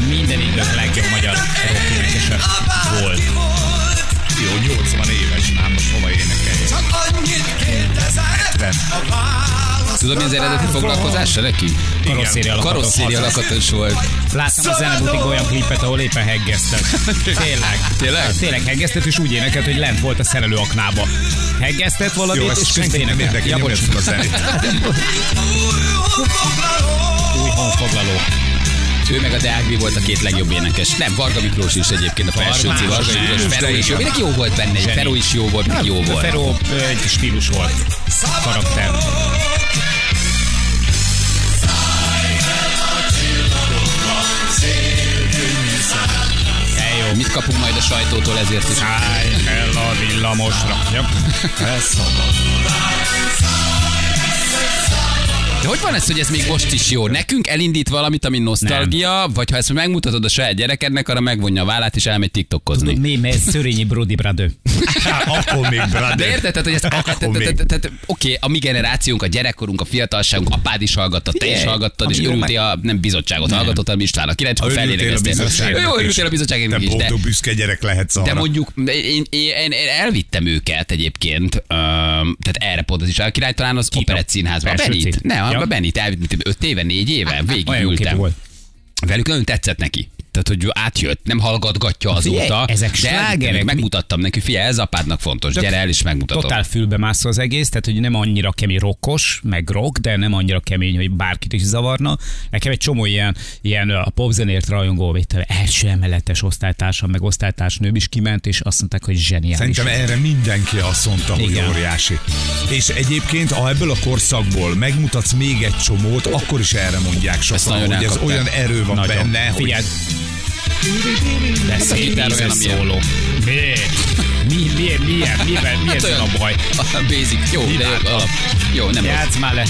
[SPEAKER 3] Minden idők legjobb magyar rockénekese volt.
[SPEAKER 4] Jó, 80 éves, már most hova énekelj.
[SPEAKER 2] Tudod, mi az eredeti foglalkozása neki?
[SPEAKER 3] Karosszéri alakatos.
[SPEAKER 2] Karosszéri alakatos volt.
[SPEAKER 3] Láttam a zenebutik olyan klipet, ahol éppen heggeztek. Tényleg.
[SPEAKER 2] Tényleg?
[SPEAKER 3] Tényleg heggeztet, és úgy énekelt, hogy lent volt a szerelő aknába. Heggeztet valamit,
[SPEAKER 4] Jó,
[SPEAKER 3] és
[SPEAKER 4] ezt
[SPEAKER 3] közben
[SPEAKER 4] Krisztin nem
[SPEAKER 3] énekelt.
[SPEAKER 4] érdekel,
[SPEAKER 3] Ja,
[SPEAKER 4] nyomja
[SPEAKER 3] bocs,
[SPEAKER 4] fel a zenét.
[SPEAKER 3] új honfoglaló.
[SPEAKER 2] Ő meg a Deágbi volt a két legjobb énekes. Nem, Varga Miklós is egyébként a Felsőci,
[SPEAKER 3] Miklós,
[SPEAKER 2] Varga
[SPEAKER 3] igen.
[SPEAKER 2] Miklós, Feró is jó. Mindenki jó volt benne,
[SPEAKER 3] Zseni.
[SPEAKER 2] Feró is jó volt, mindenki jó volt.
[SPEAKER 3] Feró ö, egy stílus volt. Karakter.
[SPEAKER 2] Jó. Mit kapunk majd a sajtótól ezért is?
[SPEAKER 3] Állj fel a villamosra. Jó.
[SPEAKER 2] De hogy van ez, hogy ez még most is jó? Nekünk elindít valamit, ami nosztalgia, nem. vagy ha ezt megmutatod a saját gyerekednek, arra megvonja a vállát és elmegy tiktokozni.
[SPEAKER 3] Mi, mert Szörényi Brody Bradő.
[SPEAKER 4] Akkor még, brother.
[SPEAKER 2] De Hát, érted, tehát, hogy ezt tehát- tehát-
[SPEAKER 4] még.
[SPEAKER 2] tehát- tehát, oké, a mi generációnk, a gyerekkorunk, a fiatalságunk, apád is hallgatta, te is
[SPEAKER 3] Figyelj,
[SPEAKER 2] hallgattad, és
[SPEAKER 3] ami jó
[SPEAKER 2] örültél a nem bizottságot hallgatott, hanem István a kilenc,
[SPEAKER 4] Ha
[SPEAKER 2] akkor
[SPEAKER 4] örültél a
[SPEAKER 2] felélegeztél.
[SPEAKER 4] bizottságnak
[SPEAKER 2] Jó,
[SPEAKER 4] is.
[SPEAKER 2] örültél a bizottságnak
[SPEAKER 4] Te
[SPEAKER 2] is, de
[SPEAKER 4] boldog, büszke gyerek lehetsz arra.
[SPEAKER 2] de mondjuk én, én, én, én elvittem őket egyébként, öm, tehát erre pont az is a király, talán az Operett Színházba. A
[SPEAKER 3] Felsőci?
[SPEAKER 2] Benit. Ne,
[SPEAKER 3] Ja.
[SPEAKER 2] a Benit elvittem 5 éve, 4 éve,
[SPEAKER 3] Olyan jó képű
[SPEAKER 2] végigültem.
[SPEAKER 3] volt.
[SPEAKER 2] Velük nagyon tetszett neki. Tehát, hogy átjött, nem hallgatgatja azóta.
[SPEAKER 3] Figyelj, ezek
[SPEAKER 2] de elvittem,
[SPEAKER 3] slágerek.
[SPEAKER 2] Megmutattam neki, figyelj, ez apádnak fontos, gyere el és megmutatom.
[SPEAKER 3] Totál fülbe mászol az egész, tehát hogy nem annyira kemény rokkos, meg rock, de nem annyira kemény, hogy bárkit is zavarna. Nekem egy csomó ilyen, ilyen a popzenért rajongó, vagy te első emeletes osztálytársam, meg osztálytársnőm is kiment, és azt mondták, hogy zseniális.
[SPEAKER 4] Szerintem erre mindenki azt mondta, hogy
[SPEAKER 3] Igen.
[SPEAKER 4] óriási. És egyébként, ha ebből a korszakból megmutatsz még egy csomót, akkor is erre mondják sokan,
[SPEAKER 2] nagyon
[SPEAKER 4] hogy ez
[SPEAKER 2] elkapták.
[SPEAKER 4] olyan erő van
[SPEAKER 3] Nagyon.
[SPEAKER 4] benne, hogy
[SPEAKER 3] Figyeld.
[SPEAKER 2] Ez a gitár olyan,
[SPEAKER 3] Lesz
[SPEAKER 2] amilyen.
[SPEAKER 3] szóló. Mi? Mi, mi, mi, mi, mi, mi,
[SPEAKER 2] Hát olyan.
[SPEAKER 3] mi, a baj?
[SPEAKER 2] A basic, jó, de jó,
[SPEAKER 3] Imádtam.
[SPEAKER 2] alap. Jó, nem rossz.
[SPEAKER 3] Játsz már le.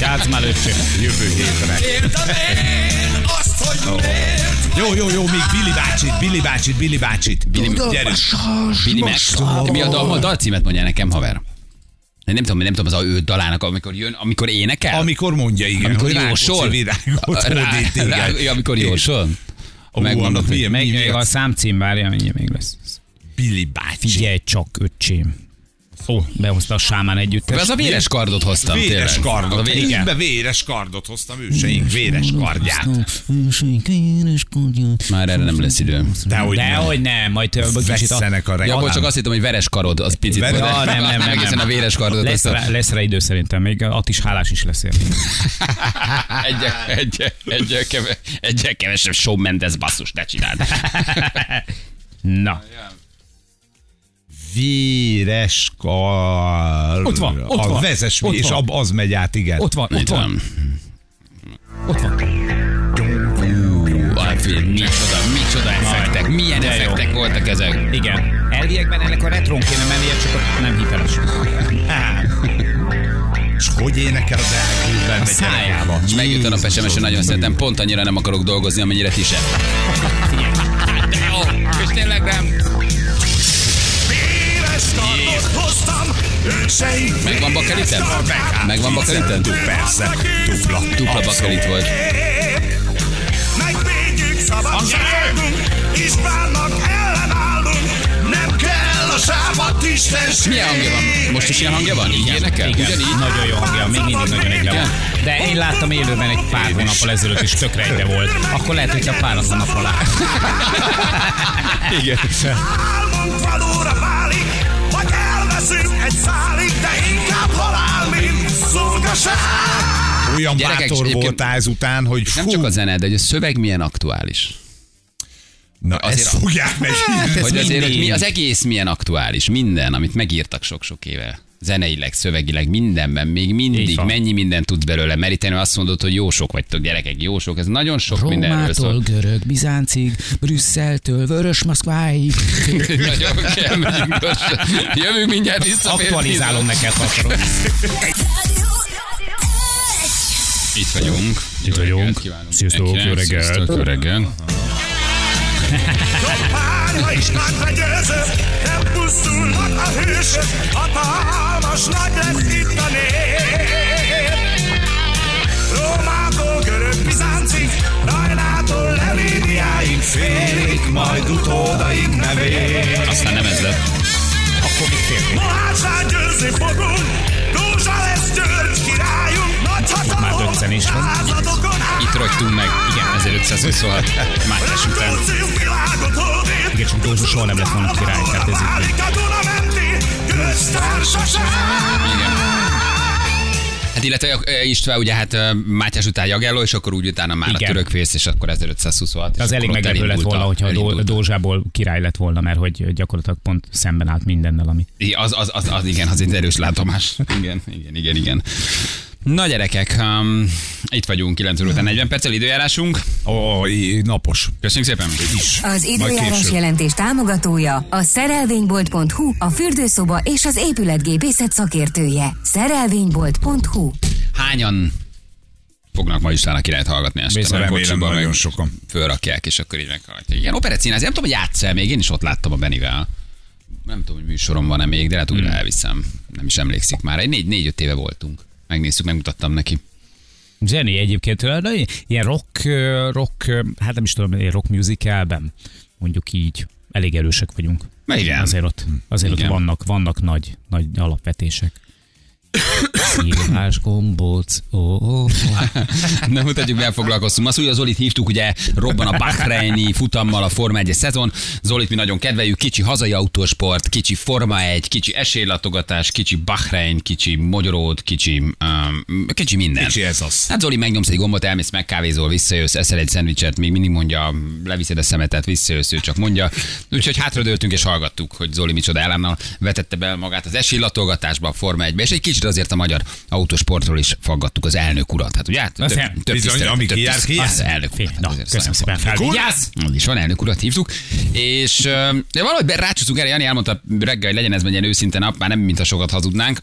[SPEAKER 3] Játsz már lőcső.
[SPEAKER 4] jövő hétre.
[SPEAKER 1] Értem én azt, hogy miért
[SPEAKER 4] Jó, jó, jó, még Billy bácsit, Billy bácsit, Billy bácsit.
[SPEAKER 2] Billy-
[SPEAKER 4] Gyerünk.
[SPEAKER 2] Billy Max. Mi a dal, a dal címet mondja nekem, haver? Én Nem tudom, nem tudom, az a ő dalának, amikor jön, amikor énekel.
[SPEAKER 4] Amikor mondja, igen,
[SPEAKER 2] Amikor
[SPEAKER 4] hogy
[SPEAKER 2] jósol.
[SPEAKER 4] Rákóczi virágot
[SPEAKER 2] Rá-
[SPEAKER 4] hódít,
[SPEAKER 2] rá-
[SPEAKER 4] igen.
[SPEAKER 2] ja, Amikor jósol.
[SPEAKER 4] Megmondom,
[SPEAKER 2] Megmondod,
[SPEAKER 4] annak
[SPEAKER 2] hogy
[SPEAKER 4] milyen,
[SPEAKER 3] Meg
[SPEAKER 4] milyen,
[SPEAKER 3] még a számcím várja, mindjárt még lesz.
[SPEAKER 4] Billy bácsi.
[SPEAKER 3] Figyelj csak, öcsém. Ó, behozta a sámán együttes.
[SPEAKER 2] De az a véres kardot hoztam,
[SPEAKER 4] Véres
[SPEAKER 2] tényleg. Az a
[SPEAKER 4] kardot.
[SPEAKER 2] vé-
[SPEAKER 4] Én be véres kardot hoztam őseink, véres kardját.
[SPEAKER 2] Már erre nem lesz idő.
[SPEAKER 4] Dehogy
[SPEAKER 3] De
[SPEAKER 4] nem.
[SPEAKER 3] hogy nem, majd ö, kicsit a...
[SPEAKER 4] Vesszenek a
[SPEAKER 2] Ja, bocs, csak
[SPEAKER 4] reggel.
[SPEAKER 2] azt hittem, hogy veres karod, az picit.
[SPEAKER 4] Veres-
[SPEAKER 2] volt.
[SPEAKER 3] Ja, nem, nem, nem,
[SPEAKER 2] Egészen
[SPEAKER 3] nem.
[SPEAKER 2] a véres kardot.
[SPEAKER 3] Lesz
[SPEAKER 2] azt a-
[SPEAKER 3] rá, lesz rá idő szerintem, még ott is hálás is leszél.
[SPEAKER 2] Egyel egy, egy, egy, keve- egyel kevesebb show Mendes basszus, ne csináld.
[SPEAKER 3] Hát, Na,
[SPEAKER 4] Véres kar.
[SPEAKER 3] Ott van, ott
[SPEAKER 4] a
[SPEAKER 3] van,
[SPEAKER 4] Vezes,
[SPEAKER 3] ott
[SPEAKER 4] és
[SPEAKER 3] van.
[SPEAKER 4] ab, az megy át, igen.
[SPEAKER 3] ott van, ott
[SPEAKER 2] Itt
[SPEAKER 3] van,
[SPEAKER 2] van.
[SPEAKER 3] ott van.
[SPEAKER 2] Á, figyelj, Micsoda, micsoda effektek, milyen
[SPEAKER 3] Hát, de jó.
[SPEAKER 2] effektek voltak ezek.
[SPEAKER 3] Igen. Elviekben ennek a retrón kéne mennie, csak ott nem hiteles.
[SPEAKER 4] És hogy énekel az elkülben megy
[SPEAKER 3] szájával.
[SPEAKER 2] És megjött a nap sms nagyon szeretem, pont annyira nem akarok dolgozni, amennyire ti sem. Hát, De jó, és tényleg nem.
[SPEAKER 1] éves kardot hoztam, őseim
[SPEAKER 2] Megvan bakelitem? Megvan bakelitem?
[SPEAKER 4] Persze, dupla.
[SPEAKER 2] Dupla bakelit volt.
[SPEAKER 1] Megvédjük szabadságunk, Istvánnak ellenállunk, nem kell a sávat istenség.
[SPEAKER 2] Milyen hangja van? Most is ilyen hangja van? Így énekel?
[SPEAKER 3] Igen,
[SPEAKER 2] Ugyanígy?
[SPEAKER 3] nagyon jó hangja, még mindig nagyon egyre van. De én láttam élőben egy pár hónappal ezelőtt is tökre egyre volt. Akkor lehet, hogy a pár hónap alá.
[SPEAKER 2] Igen.
[SPEAKER 1] Álmunk valóra válik, vagy elveszünk egy szálig, de inkább halál, mint szolgaság.
[SPEAKER 4] Olyan
[SPEAKER 2] Gyerekek, és
[SPEAKER 4] bátor
[SPEAKER 2] egyébként-
[SPEAKER 4] voltál ezután, hogy
[SPEAKER 2] Nem csak
[SPEAKER 4] fú,
[SPEAKER 2] a zene, de hogy a szöveg milyen aktuális.
[SPEAKER 4] na
[SPEAKER 2] azért
[SPEAKER 4] ezt
[SPEAKER 2] a- Hát,
[SPEAKER 4] fogják meg.
[SPEAKER 3] ez
[SPEAKER 2] Hogy azért, hogy
[SPEAKER 3] mindig.
[SPEAKER 2] mi, az egész milyen aktuális, minden, amit megírtak sok-sok éve. Zeneileg, szövegileg, mindenben, még
[SPEAKER 3] Így
[SPEAKER 2] mindig,
[SPEAKER 3] van.
[SPEAKER 2] mennyi mindent tudsz belőle meríteni, azt mondod, hogy jó sok vagytok, gyerekek, jó sok, ez nagyon sok mindenről szól.
[SPEAKER 5] görög, bizáncig, Brüsszeltől, vörös Moszkváig.
[SPEAKER 2] Nagyon kell, megyünk gyorsan. Jövünk mindjárt vissza. fél
[SPEAKER 3] Aktualizálom neked, ha akarod.
[SPEAKER 2] tíz. Itt vagyunk. Itt
[SPEAKER 3] vagyunk. Sziasztok, jó reggelt.
[SPEAKER 2] Sziasztok, jó reggelt.
[SPEAKER 1] Párja is megvegyőző, nem pusztulnak a hősök, hatalmas nagy lesz itt a nép. Rómától görög bizáncig, Rajnától Levíniáig, félik majd utódaink nevét.
[SPEAKER 2] Aztán nem ez lett.
[SPEAKER 1] Mohácsán győzni fogunk, Dózsa lesz György királyunk, nagy
[SPEAKER 3] Már
[SPEAKER 1] hatalom,
[SPEAKER 3] döccen is van.
[SPEAKER 1] századokon át.
[SPEAKER 2] Itt rögtünk meg. Igen, 1526. Mátyás után.
[SPEAKER 1] Rögtönzünk világot hódét,
[SPEAKER 3] Igen, csak Dózsa soha nem lett volna király, tehát ez így.
[SPEAKER 1] Válik a Dunamenti köztársaság.
[SPEAKER 2] Igen. Hát Hát illetve ö, István, ugye hát ö, Mátyás után Jagelló, és akkor úgy utána már Igen.
[SPEAKER 3] Igen.
[SPEAKER 2] a törökvész, és akkor 1526. és
[SPEAKER 3] Az elég
[SPEAKER 2] akkor ott
[SPEAKER 3] meglepő lett
[SPEAKER 2] elindult
[SPEAKER 3] volna, hogyha a
[SPEAKER 2] elindult
[SPEAKER 3] Dó- Dózsából király lett volna, mert hogy gyakorlatilag pont szemben állt mindennel, amit
[SPEAKER 2] I- Az, az, az, az, igen, az egy erős látomás. Igen, igen, igen, igen. Na gyerekek, um, itt vagyunk 9 óra után 40 perccel időjárásunk.
[SPEAKER 4] Ó, í- napos.
[SPEAKER 2] Köszönjük szépen!
[SPEAKER 4] Is.
[SPEAKER 7] Az
[SPEAKER 4] Majd
[SPEAKER 7] időjárás
[SPEAKER 4] később.
[SPEAKER 7] jelentés támogatója a szerelvénybolt.hu, a fürdőszoba és az épületgépészet szakértője. Szerelvénybolt.hu
[SPEAKER 2] Hányan fognak ma István a királyt hallgatni este?
[SPEAKER 4] Bizony,
[SPEAKER 2] Mert
[SPEAKER 4] remélem,
[SPEAKER 2] kocsiban
[SPEAKER 4] nagyon
[SPEAKER 2] meg
[SPEAKER 4] sokan.
[SPEAKER 2] Fölrakják, és akkor így meghallgatják. Igen, operetszínház, nem tudom, hogy játsz még én is ott láttam a Benivel. Nem tudom, hogy műsorom van-e még, de hát újra elviszem. Nem is emlékszik már. Egy négy, négy-öt éve voltunk. Megnéztük, megmutattam neki.
[SPEAKER 3] Zseni egyébként, na, ilyen rock, ö, rock, ö, hát nem is tudom, ilyen rock musicalben, mondjuk így, elég erősek vagyunk.
[SPEAKER 2] Na igen.
[SPEAKER 3] Azért ott, azért ott
[SPEAKER 2] Igen.
[SPEAKER 3] vannak, vannak nagy, nagy alapvetések. Szívás gombóc, ó, ó, ó.
[SPEAKER 2] Hát, Nem mutatjuk, mivel foglalkoztunk. Azt úgy az Zolit hívtuk, ugye robban a Bahreini futammal a Forma 1 szezon. Zolit mi nagyon kedveljük, kicsi hazai autósport, kicsi Forma 1, kicsi esélylatogatás, kicsi Bahrein, kicsi Magyaród, kicsi, um, kicsi minden.
[SPEAKER 4] Kicsi ez az.
[SPEAKER 2] Hát Zoli megnyomsz egy gombot, elmész, megkávézol, visszajössz, eszel egy szendvicset, még mindig mondja, leviszed a szemetet, visszajössz, ő csak mondja. Úgyhogy hátradőltünk és hallgattuk, hogy Zoli micsoda ellenállal vetette be magát az esélylatolgatásba, a Forma 1 és egy kicsit azért a magyar autósportról is faggattuk az elnök urat. Hát ugye? Hát több,
[SPEAKER 3] Aztán
[SPEAKER 2] több
[SPEAKER 4] bizony,
[SPEAKER 2] tisztelet,
[SPEAKER 4] ami
[SPEAKER 2] több
[SPEAKER 4] kijár,
[SPEAKER 2] tiszt-
[SPEAKER 4] kijár.
[SPEAKER 2] Az elnök urat.
[SPEAKER 3] Na,
[SPEAKER 2] Hát azért
[SPEAKER 3] köszönöm
[SPEAKER 2] szóval
[SPEAKER 3] szépen, felvigyázz!
[SPEAKER 2] az is van, elnök urat hívtuk, és ö, de valahogy be- rácsúszunk erre, Jani elmondta reggel, hogy legyen ez egy ilyen őszinte nap, már nem mint a sokat hazudnánk.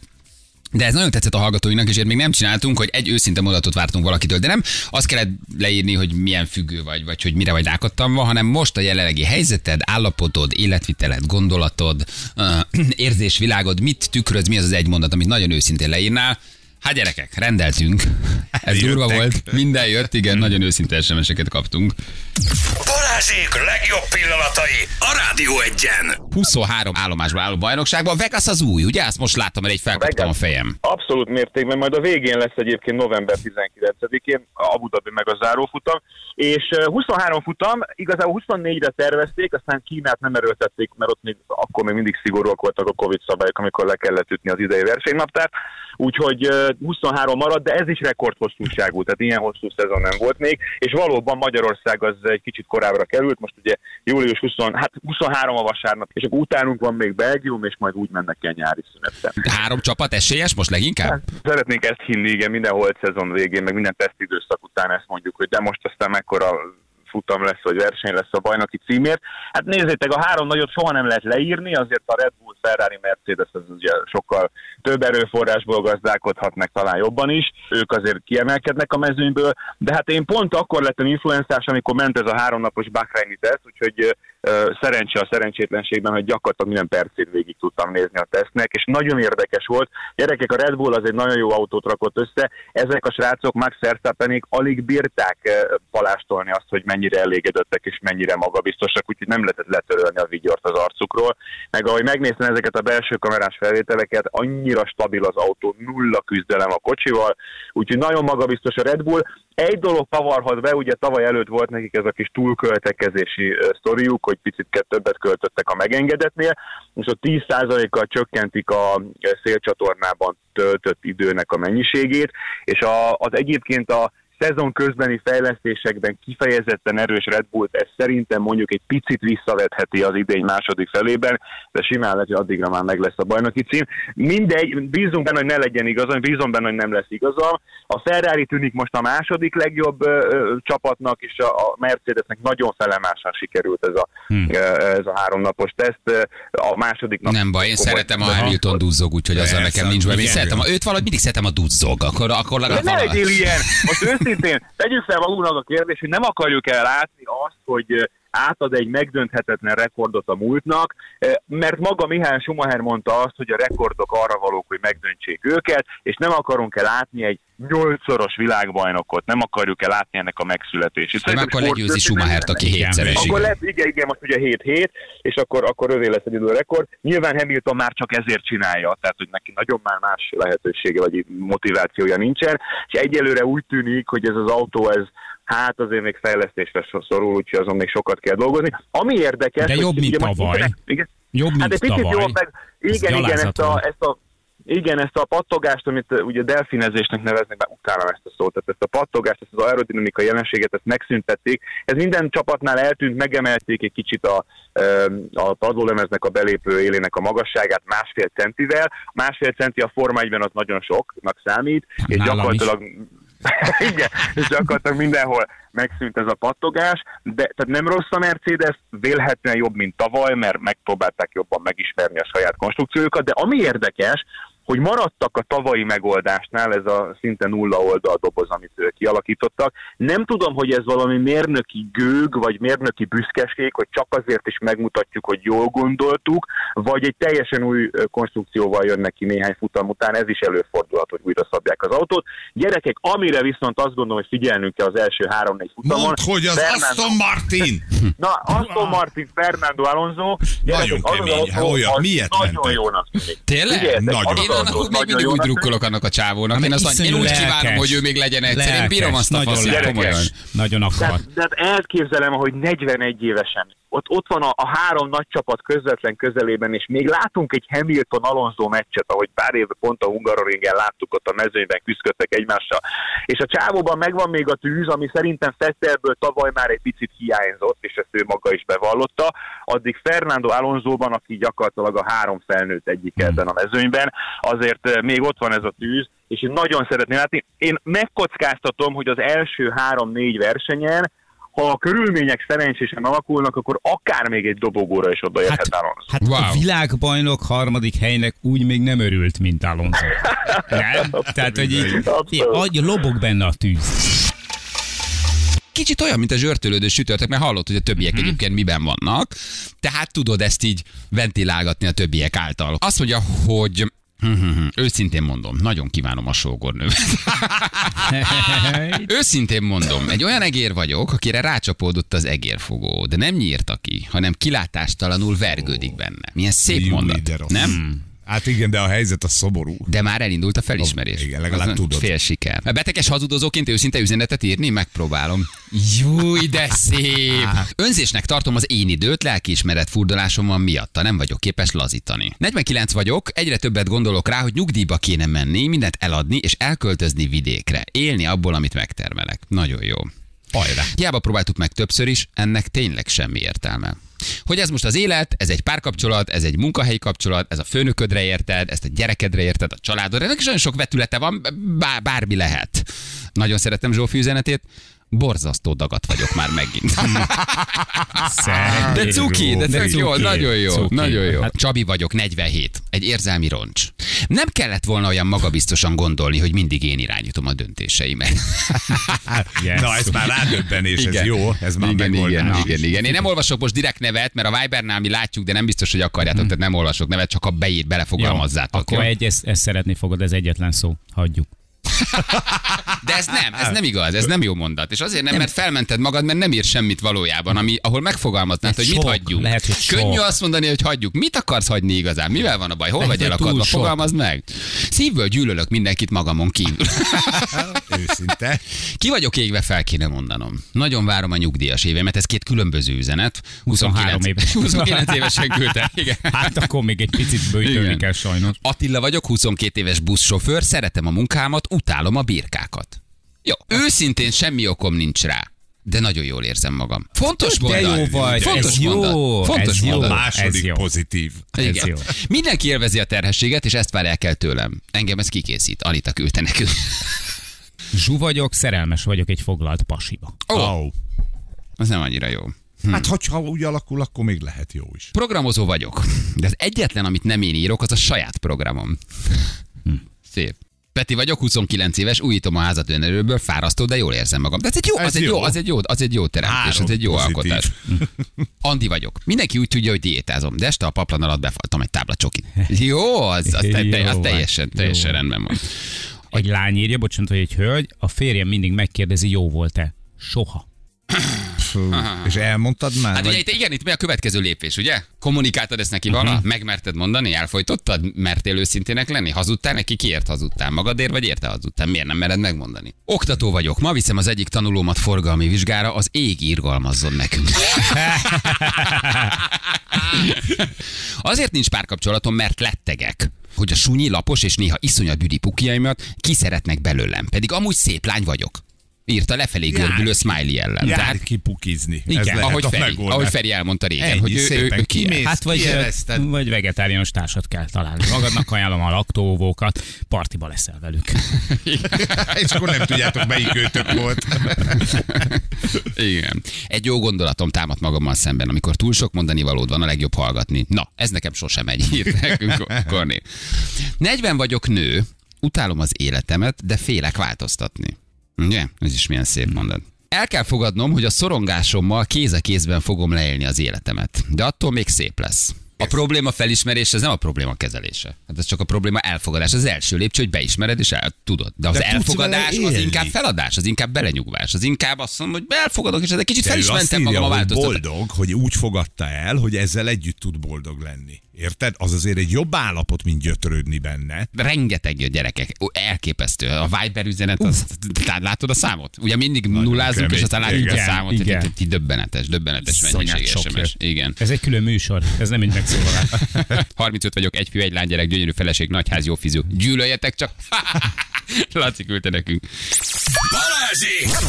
[SPEAKER 2] De ez nagyon tetszett a hallgatóinknak, és ezért még nem csináltunk, hogy egy őszinte mondatot vártunk valakitől, de nem azt kellett leírni, hogy milyen függő vagy, vagy hogy mire vagy rákattamva, hanem most a jelenlegi helyzeted, állapotod, életviteled, gondolatod, ö, érzésvilágod, mit tükröz, mi az az egy mondat, amit nagyon őszintén leírnál. Hát gyerekek, rendeltünk. Ez durva
[SPEAKER 4] Jöttek.
[SPEAKER 2] volt. Minden jött, igen, nagyon őszinte SMS-eket kaptunk.
[SPEAKER 1] Balázsék legjobb pillanatai a Rádió egyen.
[SPEAKER 2] 23 állomásban álló bajnokságban. Vegas az új, ugye? Azt most láttam, mert egy felkaptam a
[SPEAKER 8] Vegas.
[SPEAKER 2] fejem.
[SPEAKER 8] Abszolút mértékben, majd a végén lesz egyébként november 19-én, Abu Dhabi meg a zárófutam, és eh, 23 futam, igazából 24-re tervezték, aztán Kínát nem erőltették, mert ott még, akkor még mindig szigorúak voltak a Covid szabályok, amikor le kellett ütni az idei versenynaptárt, úgyhogy eh, 23 maradt, de ez is rekordhosszúságú, tehát ilyen hosszú szezon nem volt még, és valóban Magyarország az egy kicsit korábbra került, most ugye július 20, hát 23 a vasárnap, és akkor utánunk van még Belgium, és majd úgy mennek el nyári szünetre.
[SPEAKER 2] Három csapat esélyes most
[SPEAKER 8] Hát,
[SPEAKER 2] leginkább?
[SPEAKER 8] Szeretnénk ezt hinni, igen, minden holt szezon végén, meg minden tesztidőszak után ezt mondjuk, hogy de most aztán mekkora futam lesz, vagy verseny lesz a bajnoki címért. Hát nézzétek, a három nagyot soha nem lehet leírni, azért a Red Bull, Ferrari, Mercedes az ugye sokkal több erőforrásból gazdálkodhat meg talán jobban is, ők azért kiemelkednek a mezőnyből, de hát én pont akkor lettem influenzás, amikor ment ez a háromnapos Bahreini teszt, úgyhogy ö, ö, szerencse a szerencsétlenségben, hogy gyakorlatilag minden percét végig tudtam nézni a tesztnek, és nagyon érdekes volt. Gyerekek, a Red Bull az egy nagyon jó autót rakott össze, ezek a srácok Max Verstappenék alig bírták ö, palástolni azt, hogy mennyire elégedettek és mennyire magabiztosak, úgyhogy nem lehetett letörölni a vigyort az arcukról. Meg ahogy megnéztem ezeket a belső kamerás felvételeket, annyira stabil az autó, nulla küzdelem a kocsival, úgyhogy nagyon magabiztos a Red Bull. Egy dolog kavarhat be, ugye tavaly előtt volt nekik ez a kis túlköltekezési ö, sztoriuk, hogy picit ke- többet költöttek a megengedetnél, és ott 10%-kal csökkentik a ö, szélcsatornában töltött időnek a mennyiségét, és a, az egyébként a szezon közbeni fejlesztésekben kifejezetten erős Red Bullt, ez szerintem mondjuk egy picit visszavetheti az idény második felében, de simán lehet, hogy addigra már meg lesz a bajnoki cím. Mindegy, bízunk benne, hogy ne legyen igazam, bízom benne, hogy nem lesz igazam. A Ferrari tűnik most a második legjobb ö, ö, csapatnak, és a, a Mercedesnek nagyon felemásan sikerült ez a, hmm. ö, ez a háromnapos teszt. Ö, A második nap
[SPEAKER 2] Hm. Nem baj, én
[SPEAKER 8] komoly-
[SPEAKER 2] szeretem a
[SPEAKER 8] de-
[SPEAKER 2] Hamilton duzzog, úgyhogy azzal
[SPEAKER 4] Persze,
[SPEAKER 2] nekem nincs baj. Én
[SPEAKER 4] igen.
[SPEAKER 2] szeretem, a, őt valahogy mindig szeretem a duzzog, akkor, akkor
[SPEAKER 8] De
[SPEAKER 2] legalább
[SPEAKER 8] ne
[SPEAKER 2] valami.
[SPEAKER 8] legyél ilyen! Most őszintén, tegyük fel magunknak a kérdés, hogy nem akarjuk el látni azt, hogy ö, átad egy megdönthetetlen rekordot a múltnak, ö, mert maga Mihály Schumacher mondta azt, hogy a rekordok arra valók, hogy megdöntsék őket, és nem akarunk el látni egy nyolcszoros világbajnokot, nem akarjuk el látni ennek a megszületését.
[SPEAKER 2] Nem
[SPEAKER 8] Szerintem
[SPEAKER 2] akkor
[SPEAKER 8] sport-
[SPEAKER 2] legyőzi Schumachert, aki hétszeres.
[SPEAKER 8] akkor
[SPEAKER 2] igen.
[SPEAKER 8] lesz, igen, igen, most ugye 7-7, és akkor, akkor övé lesz egy idő rekord. Nyilván Hamilton már csak ezért csinálja, tehát hogy neki nagyon már más lehetősége vagy motivációja nincsen, és egyelőre úgy tűnik, hogy ez az autó, ez hát azért még fejlesztésre so- szorul, úgyhogy azon még sokat kell dolgozni. Ami érdekes...
[SPEAKER 3] De
[SPEAKER 8] hogy
[SPEAKER 3] jobb, mint
[SPEAKER 8] ugye most
[SPEAKER 3] tavaly.
[SPEAKER 8] internet- Igen,
[SPEAKER 3] Jobb,
[SPEAKER 8] hát
[SPEAKER 3] mint
[SPEAKER 8] egy picit
[SPEAKER 3] tavaly.
[SPEAKER 8] jól meg...
[SPEAKER 3] Ez
[SPEAKER 8] Igen, igen, ezt
[SPEAKER 3] gyalázatlan.
[SPEAKER 8] a, ezt a Igen, ezt a pattogást, amit ö, ugye delfinezésnek neveznek, bár utálom ezt a szót, tehát ezt a pattogást, ezt az aerodinamikai jelenséget, ezt megszüntették. Ez minden csapatnál eltűnt, megemelték egy kicsit a, ö, a padlólemeznek a belépő élének a magasságát másfél centivel. Másfél centi a Forma 1-ben az nagyon soknak számít, és
[SPEAKER 3] Nálam is.
[SPEAKER 8] gyakorlatilag Igen, és gyakorlatilag mindenhol megszűnt ez a pattogás, de tehát nem rossz a Mercedes, vélhetően jobb, mint tavaly, mert megpróbálták jobban megismerni a saját konstrukciójukat, de ami érdekes, hogy maradtak a tavalyi megoldásnál, ez a szinte nulla oldal doboz, amit ö, kialakítottak. Nem tudom, hogy ez valami mérnöki gőg, vagy mérnöki büszkeség, hogy csak azért is megmutatjuk, hogy jól gondoltuk, vagy egy teljesen új ö, konstrukcióval jönnek ki néhány futam után, ez is előfordulhat, hogy újra szabják az autót. Gyerekek, amire viszont azt gondolom, hogy figyelnünk kell az első három-négy futamon.
[SPEAKER 4] Mondd, hogy az
[SPEAKER 8] Fernando-
[SPEAKER 4] Aston Martin!
[SPEAKER 8] Na, Aston Martin, Fernando Alonso. gyerekek, az az
[SPEAKER 4] kemény.
[SPEAKER 8] autó,
[SPEAKER 4] Olyan,
[SPEAKER 8] az
[SPEAKER 4] milyet
[SPEAKER 8] Nagyon
[SPEAKER 4] mentek?
[SPEAKER 8] jónak tűnik.
[SPEAKER 2] Tényleg?
[SPEAKER 8] Figyeljetek,
[SPEAKER 4] Nagyon.
[SPEAKER 8] az az
[SPEAKER 2] Én annak
[SPEAKER 8] autó
[SPEAKER 2] úgy még
[SPEAKER 8] nagyon
[SPEAKER 2] mindig úgy
[SPEAKER 8] jónak
[SPEAKER 2] drukkolok annak a csávónak. Én, azt mondom,
[SPEAKER 3] iszonyú
[SPEAKER 2] én úgy
[SPEAKER 3] Hát, lelkes.
[SPEAKER 2] kívánom, hogy ő még legyen egyszer. Én bírom azt a
[SPEAKER 3] nagyon
[SPEAKER 2] faszát,
[SPEAKER 3] lelkes,
[SPEAKER 2] komolyan.
[SPEAKER 3] Nagyon akar.
[SPEAKER 8] Tehát, tehát elképzelem, hogy 41 évesen ott, ott van a, a három nagy csapat közvetlen közelében, és még látunk egy Hamilton-Alonso meccset, ahogy pár éve pont a Hungaroringen láttuk, ott a mezőnyben küzdöttek egymással. És a csávóban megvan még a tűz, ami szerintem Fettelből tavaly már egy picit hiányzott, és ezt ő maga is bevallotta. Addig Fernando Alonsoban, aki gyakorlatilag a három felnőtt egyik ebben a mezőnyben, azért eh, még ott van ez a tűz, és én nagyon szeretném látni. Én megkockáztatom, hogy az első három-négy versenyen, ha a körülmények szerencsésen alakulnak, akkor akár még egy dobogóra is odaérhet
[SPEAKER 3] Hát,
[SPEAKER 8] hát, Alonso.
[SPEAKER 3] hát wow.
[SPEAKER 2] Wow.
[SPEAKER 3] a világbajnok harmadik helynek úgy még nem örült, mint Alonso. Nem? Tehát, hogy így,
[SPEAKER 8] Abszolút.
[SPEAKER 3] így agy, lobog benne a tűz.
[SPEAKER 2] Kicsit olyan, mint a zsörtölődő sütörtök, mert hallott, hogy a többiek hmm. egyébként miben vannak. Tehát tudod ezt így ventilálgatni a többiek által. Azt mondja, hogy őszintén mondom, nagyon kívánom a sógornőmet. Őszintén mondom, egy olyan egér vagyok, akire rácsapódott az egérfogó, de nem nyírta ki, hanem kilátástalanul vergődik benne. Milyen szép
[SPEAKER 4] Júj,
[SPEAKER 2] mondat,
[SPEAKER 4] de rossz.
[SPEAKER 2] nem?
[SPEAKER 4] Hát igen, de a helyzet a szomorú.
[SPEAKER 2] De már elindult a felismerés.
[SPEAKER 4] Igen, legalább
[SPEAKER 2] Az
[SPEAKER 4] tudod.
[SPEAKER 2] Fél siker. A beteges hazudozóként őszinte üzenetet írni? Megpróbálom. Júj, de szép! Önzésnek tartom az én időt, lelkiismeret furdalásom van miatta, nem vagyok képes lazítani. 49 vagyok, egyre többet gondolok rá, hogy nyugdíjba kéne menni, mindent eladni és elköltözni vidékre. Élni abból, amit megtermelek. Nagyon jó. Hajrá! Hiába próbáltuk meg többször is, ennek tényleg semmi értelme. Hogy ez most az élet, ez egy párkapcsolat, ez egy munkahelyi kapcsolat, ez a főnöködre érted, ezt a gyerekedre érted, a családodra, ennek is olyan sok vetülete van, bár, bármi lehet. Nagyon szeretem Zsófi üzenetét, borzasztó dagat vagyok már megint. De cuki, de, de jó, nagyon jó, cuki. nagyon jó. Hát Csabi vagyok, 47, egy érzelmi roncs. Nem kellett volna olyan magabiztosan gondolni, hogy mindig én irányítom a döntéseimet.
[SPEAKER 3] Yes.
[SPEAKER 4] Na, ez már rádöbbenés, ez jó, ez már
[SPEAKER 2] igen, igen,
[SPEAKER 4] megoldás.
[SPEAKER 2] igen, igen. Én nem olvasok most direkt nevet, mert a Vibernál mi látjuk, de nem biztos, hogy akarjátok, tehát nem olvasok nevet, csak ha beír, belefogalmazzátok.
[SPEAKER 3] Hmm. Akkor
[SPEAKER 2] jó?
[SPEAKER 3] egy, ezt, ezt szeretni fogod, ez egyetlen szó. Hagyjuk.
[SPEAKER 2] De ez nem, ez nem igaz, ez nem jó mondat. És azért nem, mert felmented magad, mert nem ír semmit valójában, ami, ahol megfogalmaznád, hogy mit
[SPEAKER 3] sok,
[SPEAKER 2] hagyjuk.
[SPEAKER 3] lehet, hogy sok.
[SPEAKER 2] Könnyű azt mondani, hogy hagyjuk. Mit akarsz hagyni igazán? Mivel van a baj? Hol
[SPEAKER 3] Lehet,
[SPEAKER 2] vagy
[SPEAKER 3] hogy
[SPEAKER 2] elakadva?
[SPEAKER 3] túl sok.
[SPEAKER 2] Fogalmazd meg. Szívből gyűlölök mindenkit magamon kívül.
[SPEAKER 4] Hát, Őszinte.
[SPEAKER 2] Ki vagyok égve, fel kéne mondanom. Nagyon várom a nyugdíjas évemet, ez két különböző üzenet.
[SPEAKER 3] 23 éves.
[SPEAKER 2] 29 évesen küldte. Igen.
[SPEAKER 3] Hát akkor még egy picit bőjtölni
[SPEAKER 2] Igen.
[SPEAKER 3] kell sajnos.
[SPEAKER 2] Attila vagyok, 22 éves buszsofőr, szeretem a munkámat, utálom a birkákat. Jó, őszintén semmi okom nincs rá, de nagyon jól érzem magam. Fontos
[SPEAKER 3] De
[SPEAKER 2] mondat.
[SPEAKER 3] jó vagy,
[SPEAKER 2] Fontos
[SPEAKER 3] ez jó,
[SPEAKER 2] mondat. Fontos
[SPEAKER 3] ez jó.
[SPEAKER 2] mondat.
[SPEAKER 4] Második
[SPEAKER 3] Ez jó.
[SPEAKER 4] pozitív.
[SPEAKER 3] Ez
[SPEAKER 2] Igen.
[SPEAKER 3] jó.
[SPEAKER 2] Mindenki élvezi a terhességet, és ezt várják el tőlem. Engem ez kikészít. Anita küldte nekünk.
[SPEAKER 3] Zsú vagyok, szerelmes vagyok egy foglalt pasiba.
[SPEAKER 2] Ó, oh,
[SPEAKER 4] Au.
[SPEAKER 2] az nem annyira jó.
[SPEAKER 4] Hát, hogyha úgy alakul, akkor még lehet jó is.
[SPEAKER 2] Programozó vagyok, de az egyetlen, amit nem én írok, az a saját programom.
[SPEAKER 4] Hm.
[SPEAKER 2] Szép. Peti vagyok, 29 éves, újítom a házat önerőből, fárasztó, de jól érzem magam. De ez egy jó,
[SPEAKER 4] Ez
[SPEAKER 2] az, Egy
[SPEAKER 4] jó.
[SPEAKER 2] jó az, egy jó, az egy jó teremtés,
[SPEAKER 4] Három
[SPEAKER 2] hát ez egy jó
[SPEAKER 4] pozitív.
[SPEAKER 2] alkotás. Andi vagyok. Mindenki úgy tudja, hogy diétázom, de este a paplan alatt befaltam egy tábla csokit. Jó, az, az, te, te, az
[SPEAKER 3] Jó
[SPEAKER 2] teljesen,
[SPEAKER 3] van.
[SPEAKER 2] teljesen
[SPEAKER 3] Jó van.
[SPEAKER 2] rendben van.
[SPEAKER 3] Egy lány írja, bocsánat, hogy egy hölgy, a férjem mindig megkérdezi, jó volt-e? Soha.
[SPEAKER 4] Fú. És elmondtad már?
[SPEAKER 2] Hát ugye
[SPEAKER 4] vagy-
[SPEAKER 2] itt, igen, itt mi a következő lépés, ugye? Kommunikáltad ezt neki vala, uh-huh. megmerted mondani, elfolytottad, mertél őszintének lenni, hazudtál neki, kiért hazudtál, magadért vagy érte hazudtál, miért nem mered megmondani? Oktató vagyok, ma viszem az egyik tanulómat forgalmi vizsgára, az ég irgalmazzon nekünk. Azért nincs párkapcsolatom, mert lettegek. hogy a sunyi lapos és néha iszonyat büdi pukjaimat kiszeretnek belőlem, pedig amúgy szép lány vagyok. Írta lefelé görbülő smiley ellen.
[SPEAKER 4] Jár
[SPEAKER 2] Tehát,
[SPEAKER 4] kipukizni.
[SPEAKER 2] igen,
[SPEAKER 4] Ez lehet
[SPEAKER 2] ahogy,
[SPEAKER 4] a
[SPEAKER 2] Feri,
[SPEAKER 4] megoldás.
[SPEAKER 2] ahogy Feri elmondta régen,
[SPEAKER 4] Ennyi,
[SPEAKER 2] hogy ő, ő,
[SPEAKER 4] szépen
[SPEAKER 2] ő ki
[SPEAKER 4] kimész.
[SPEAKER 3] Hát vagy,
[SPEAKER 4] Kijelezted.
[SPEAKER 3] vagy vegetáriánus társat kell találni. Magadnak ajánlom a laktóvókat, partiba leszel velük.
[SPEAKER 4] És akkor nem tudjátok, melyik őtök volt.
[SPEAKER 2] Igen. Egy jó gondolatom támad magammal szemben, amikor túl sok mondani valód van, a legjobb hallgatni. Na, ez nekem sosem egy írt nekünk, Kor- Kornél. 40 vagyok nő, utálom az életemet, de félek változtatni. Ugye? Ez is milyen szép mondat. El kell fogadnom, hogy a szorongásommal kéz a kézben fogom leélni az életemet. De attól még szép lesz. A probléma felismerése, ez nem a probléma kezelése. Hát ez csak a probléma elfogadás. Az első lépcső, hogy beismered és el tudod. De az
[SPEAKER 4] De tudsz
[SPEAKER 2] elfogadás
[SPEAKER 4] vele
[SPEAKER 2] az
[SPEAKER 4] élni.
[SPEAKER 2] inkább feladás, az inkább belenyugvás, az inkább azt mondom, hogy elfogadok, és ez egy kicsit
[SPEAKER 4] De
[SPEAKER 2] fel
[SPEAKER 4] ő
[SPEAKER 2] is
[SPEAKER 4] azt
[SPEAKER 2] mentem magam
[SPEAKER 4] írja,
[SPEAKER 2] a
[SPEAKER 4] hogy
[SPEAKER 2] változtatást.
[SPEAKER 4] boldog, hogy úgy fogadta el, hogy ezzel együtt tud boldog lenni. Érted? Az azért egy jobb állapot, mint gyötrődni benne.
[SPEAKER 2] Rengeteg jön gyerekek, Ó, elképesztő. A Viber üzenet, az, tehát látod a számot? Ugye mindig nullázunk,
[SPEAKER 4] kemény.
[SPEAKER 2] és aztán látjuk a
[SPEAKER 3] Igen,
[SPEAKER 2] számot, hogy
[SPEAKER 3] igen.
[SPEAKER 2] itt- itt döbbenetes, döbbenetes
[SPEAKER 3] Iszonyat
[SPEAKER 2] mennyiség
[SPEAKER 3] sok
[SPEAKER 2] SMS.
[SPEAKER 3] jön.
[SPEAKER 2] Igen.
[SPEAKER 3] Ez egy külön műsor, ez nem egy megszólalás.
[SPEAKER 2] 35 vagyok, egy fiú, egy lány gyerek, gyönyörű feleség, nagyház, jó fizú. Gyűlöljetek csak! Laci küldte nekünk.
[SPEAKER 1] Balázsi!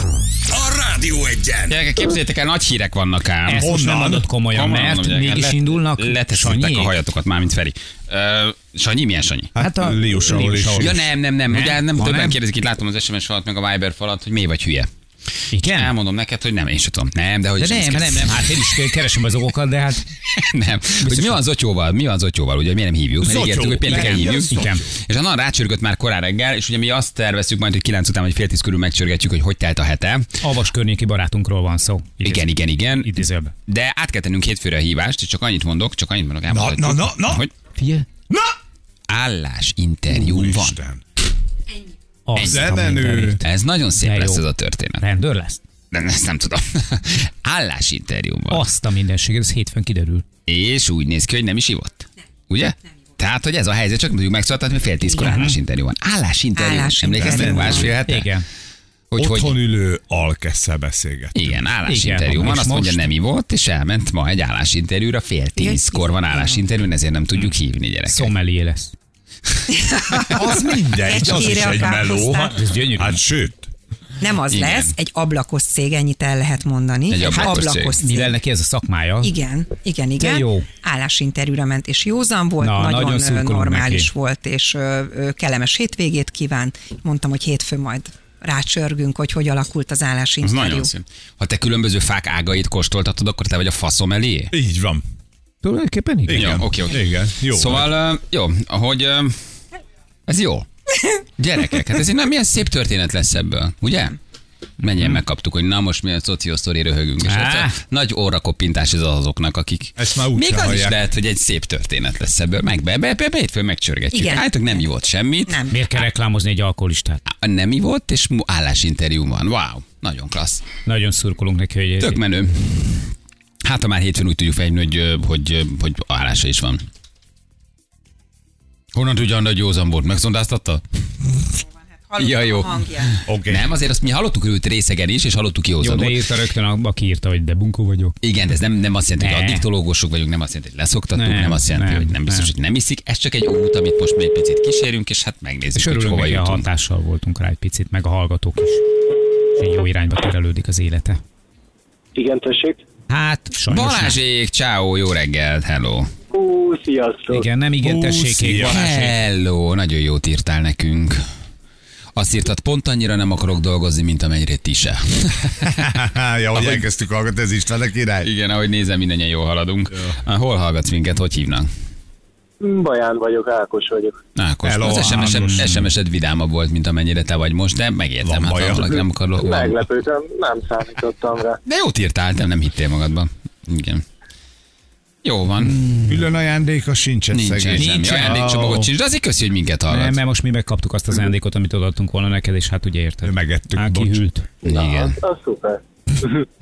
[SPEAKER 1] A Rádió egyen!
[SPEAKER 2] Gyerekek, képzeljétek el, nagy hírek vannak ám.
[SPEAKER 3] Ezt most nem adott komolyan,
[SPEAKER 2] Komolyan
[SPEAKER 3] mert
[SPEAKER 2] mondom, gyerekek,
[SPEAKER 3] mégis
[SPEAKER 2] let-
[SPEAKER 3] indulnak.
[SPEAKER 2] Leteszitek
[SPEAKER 3] Sanyiék.
[SPEAKER 2] a hajatokat már, mint Feri. Ö, Sanyi, milyen Sanyi?
[SPEAKER 3] Hát a-
[SPEAKER 4] Lius, ahol
[SPEAKER 3] Lius,
[SPEAKER 4] is.
[SPEAKER 3] ahol-
[SPEAKER 2] Ja nem, nem, nem. Ugye nem
[SPEAKER 3] Ha
[SPEAKER 2] többen
[SPEAKER 3] nem?
[SPEAKER 2] kérdezik, itt látom az SMS falat, meg a Viber falat, hogy mi vagy hülye.
[SPEAKER 3] Igen?
[SPEAKER 2] Elmondom neked, hogy nem, én sem tudom. Nem, de hogy
[SPEAKER 3] De
[SPEAKER 2] sem
[SPEAKER 3] nem,
[SPEAKER 2] kell.
[SPEAKER 3] nem, nem, hát én is keresem az okokat, de hát
[SPEAKER 2] nem. Hogy mi van Zotyóval? Mi van Zotyóval? Ugye miért nem hívjuk? Mert
[SPEAKER 4] Zotyó.
[SPEAKER 2] ígértük, hogy pénteken
[SPEAKER 4] Nem,
[SPEAKER 2] hívjuk.
[SPEAKER 4] Zotyó.
[SPEAKER 2] Igen. És annan rácsörgött már korán reggel, és ugye mi azt terveztük majd, hogy 9 után vagy fél tíz körül megcsörgetjük, hogy hogy telt a hete.
[SPEAKER 3] avas környéki barátunkról van szó. Idéz-
[SPEAKER 2] Igen, igen, igen.
[SPEAKER 3] Idézőbb.
[SPEAKER 2] De át kell tennünk hétfőre a hívást, és csak annyit mondok, csak annyit mondok,
[SPEAKER 4] Na,
[SPEAKER 2] elmondhatjuk,
[SPEAKER 4] na, na, na!
[SPEAKER 2] hogy
[SPEAKER 3] Figyelj.
[SPEAKER 2] állásinterjú van.
[SPEAKER 4] Isten.
[SPEAKER 3] Az
[SPEAKER 2] Egy
[SPEAKER 3] a
[SPEAKER 4] zemenő.
[SPEAKER 3] mindenit.
[SPEAKER 2] Ez nagyon szép
[SPEAKER 3] De
[SPEAKER 2] lesz
[SPEAKER 3] jó.
[SPEAKER 2] ez a történet.
[SPEAKER 3] Rendőr lesz?
[SPEAKER 2] Nem, ezt nem tudom. Állásinterjú van.
[SPEAKER 3] Azt a mindenséget, ez hétfőn kiderül.
[SPEAKER 2] És úgy néz ki, hogy nem is ivott. Ugye? Tehát, hogy ez a helyzet, csak mondjuk megszólaltatni, hogy fél tízkor állásinterjú van. Állásinterjú.
[SPEAKER 7] Állásinterjú.
[SPEAKER 2] Emlékeztek másfél hete?
[SPEAKER 3] Igen.
[SPEAKER 2] Hogy,
[SPEAKER 4] Otthon
[SPEAKER 2] hogy
[SPEAKER 4] ülő alkesszel beszélget.
[SPEAKER 2] igen, állásinterjú
[SPEAKER 3] Igen,
[SPEAKER 2] van,
[SPEAKER 3] és
[SPEAKER 2] azt mondja,
[SPEAKER 3] most?
[SPEAKER 2] nem ivott, és elment ma egy állásinterjúra, fél tízkor van állásinterjú, ezért nem tudjuk hívni gyerekek.
[SPEAKER 3] Szomelié lesz.
[SPEAKER 4] Az mindegy, az is
[SPEAKER 9] Kecskére
[SPEAKER 4] egy
[SPEAKER 9] Hát, a
[SPEAKER 4] meló.
[SPEAKER 9] káposztát.
[SPEAKER 4] Hát,
[SPEAKER 3] Ez gyönyörű.
[SPEAKER 4] hát sőt,
[SPEAKER 9] Nem az
[SPEAKER 2] Igen.
[SPEAKER 9] Igen. lesz, egy ablakos cég, ennyit el lehet mondani.
[SPEAKER 2] Egy ablakos
[SPEAKER 9] cég.
[SPEAKER 3] Mivel neki ez a szakmája,
[SPEAKER 9] Igen, igen, igen.
[SPEAKER 3] De jó.
[SPEAKER 9] Állásinterjúra ment, és józan volt,
[SPEAKER 3] Na,
[SPEAKER 9] Na, nagyon,
[SPEAKER 3] nagyon
[SPEAKER 9] nagyon
[SPEAKER 3] szurkolunk
[SPEAKER 9] normális
[SPEAKER 3] neki.
[SPEAKER 9] volt, és ö, ö, kellemes hétvégét kíván. Mondtam, hogy hétfőn majd rácsörgünk, hogy hogy alakult az
[SPEAKER 2] Az
[SPEAKER 9] állásinterjú.
[SPEAKER 2] nagyon szép. Ha te különböző fák ágait kóstoltatod, akkor te vagy a faszom elé?
[SPEAKER 4] így van.
[SPEAKER 3] tulajdonképpen igen.
[SPEAKER 2] Jó, oké, oké.
[SPEAKER 4] Igen, jó.
[SPEAKER 2] Szóval, ö, jó, ahogy ö, ez jó. Gyerekek, hát ez egy nem milyen szép történet lesz ebből, ugye? Menjen,
[SPEAKER 4] Mhm.
[SPEAKER 2] megkaptuk, hogy na most milyen szociósztori röhögünk. És
[SPEAKER 3] Á.
[SPEAKER 2] hát a nagy órakoppintás ez az azoknak, akik...
[SPEAKER 4] Ezt már úgy
[SPEAKER 2] Még
[SPEAKER 4] sem
[SPEAKER 2] az is
[SPEAKER 4] hallják.
[SPEAKER 2] lehet, hogy egy szép történet lesz ebből. Meg be, be, be, be hétfőn megcsörgetjük.
[SPEAKER 9] Igen.
[SPEAKER 2] Álltok, nem ivott semmit.
[SPEAKER 9] Nem.
[SPEAKER 3] Miért kell reklámozni egy alkoholistát?
[SPEAKER 2] Nem ivott, és mu- állásinterjú van. Wow, nagyon klassz.
[SPEAKER 3] Nagyon szurkolunk neki, hogy
[SPEAKER 2] Tök menő. Hát, ha már hétfőn úgy tudjuk fejlődni, hogy, ö, hogy, ö, hogy állása is van. Honnan tudja, hogy józan volt? Megszondáztatta?
[SPEAKER 9] Hallottam
[SPEAKER 2] Ja, jó.
[SPEAKER 9] a hangját.
[SPEAKER 4] Oké.
[SPEAKER 2] Nem, azért azt mi hallottuk őt részegen is, és hallottuk
[SPEAKER 3] jó, de
[SPEAKER 2] józanul.
[SPEAKER 3] írta rögtön, a- aki írta, hogy de bunkó vagyok.
[SPEAKER 2] Igen, de ez nem, nem azt jelenti, hogy
[SPEAKER 3] Ne.
[SPEAKER 2] addiktológusok vagyunk, nem azt jelenti, hogy leszoktattuk, nem,
[SPEAKER 3] Nem,
[SPEAKER 2] nem azt jelenti,
[SPEAKER 3] nem,
[SPEAKER 2] hogy nem biztos,
[SPEAKER 3] nem.
[SPEAKER 2] hogy nem iszik. Ez csak egy út, amit most mi egy picit kísérünk, és hát megnézzük,
[SPEAKER 3] És
[SPEAKER 2] hogy
[SPEAKER 3] örülünk,
[SPEAKER 2] hova
[SPEAKER 3] hogy a
[SPEAKER 2] jutunk.
[SPEAKER 3] hatással voltunk rá egy picit, meg a hallgatók is. És így jó irányba terelődik az élete.
[SPEAKER 10] Igen, tessék.
[SPEAKER 3] Hát, sajnos nem.
[SPEAKER 2] Balázsék, ciao, jó reggelt, hello.
[SPEAKER 10] Hú, sziasztok.
[SPEAKER 3] Igen, nem igen, tessék, Balázsék.
[SPEAKER 2] Hello, nagyon jót írtál nekünk. Azt írtad, pont annyira nem akarok dolgozni, mint amennyire ti se.
[SPEAKER 4] ja, hogy
[SPEAKER 2] Ahogy-
[SPEAKER 4] elkezdtük hallgatni, ez István a király.
[SPEAKER 2] Igen, ahogy nézem, mindannyian jól haladunk. Ja. Hol hallgatsz minket, hogy hívnak?
[SPEAKER 10] Baján vagyok, Ákos vagyok.
[SPEAKER 2] Ákos,
[SPEAKER 4] Hello,
[SPEAKER 2] az
[SPEAKER 4] Ákos.
[SPEAKER 2] SMS-ed, SMS-ed vidámabb volt, mint amennyire te vagy most, de megértem,
[SPEAKER 4] Van
[SPEAKER 2] hát
[SPEAKER 4] baja?
[SPEAKER 2] ha valaki nem akar lo- van.
[SPEAKER 10] Meglepődtem, nem számítottam rá.
[SPEAKER 2] De jót írtál, te nem hittél magadban. Igen. Jó van, mm,
[SPEAKER 4] Külön ajándéka sincsen
[SPEAKER 2] nincsen
[SPEAKER 4] Hmm, szegény.
[SPEAKER 2] semmi
[SPEAKER 3] Nincsen.
[SPEAKER 2] ajándékcsomagot sincs, de azért köszi, hogy minket
[SPEAKER 3] Nem,
[SPEAKER 2] hallgat.
[SPEAKER 3] mert most mi megkaptuk azt az ajándékot, amit odaadtunk volna neked, és hát ugye érted.
[SPEAKER 4] Megettük,
[SPEAKER 3] Á,
[SPEAKER 4] bocs.
[SPEAKER 3] kihűlt.
[SPEAKER 2] Igen.
[SPEAKER 10] Az szuper.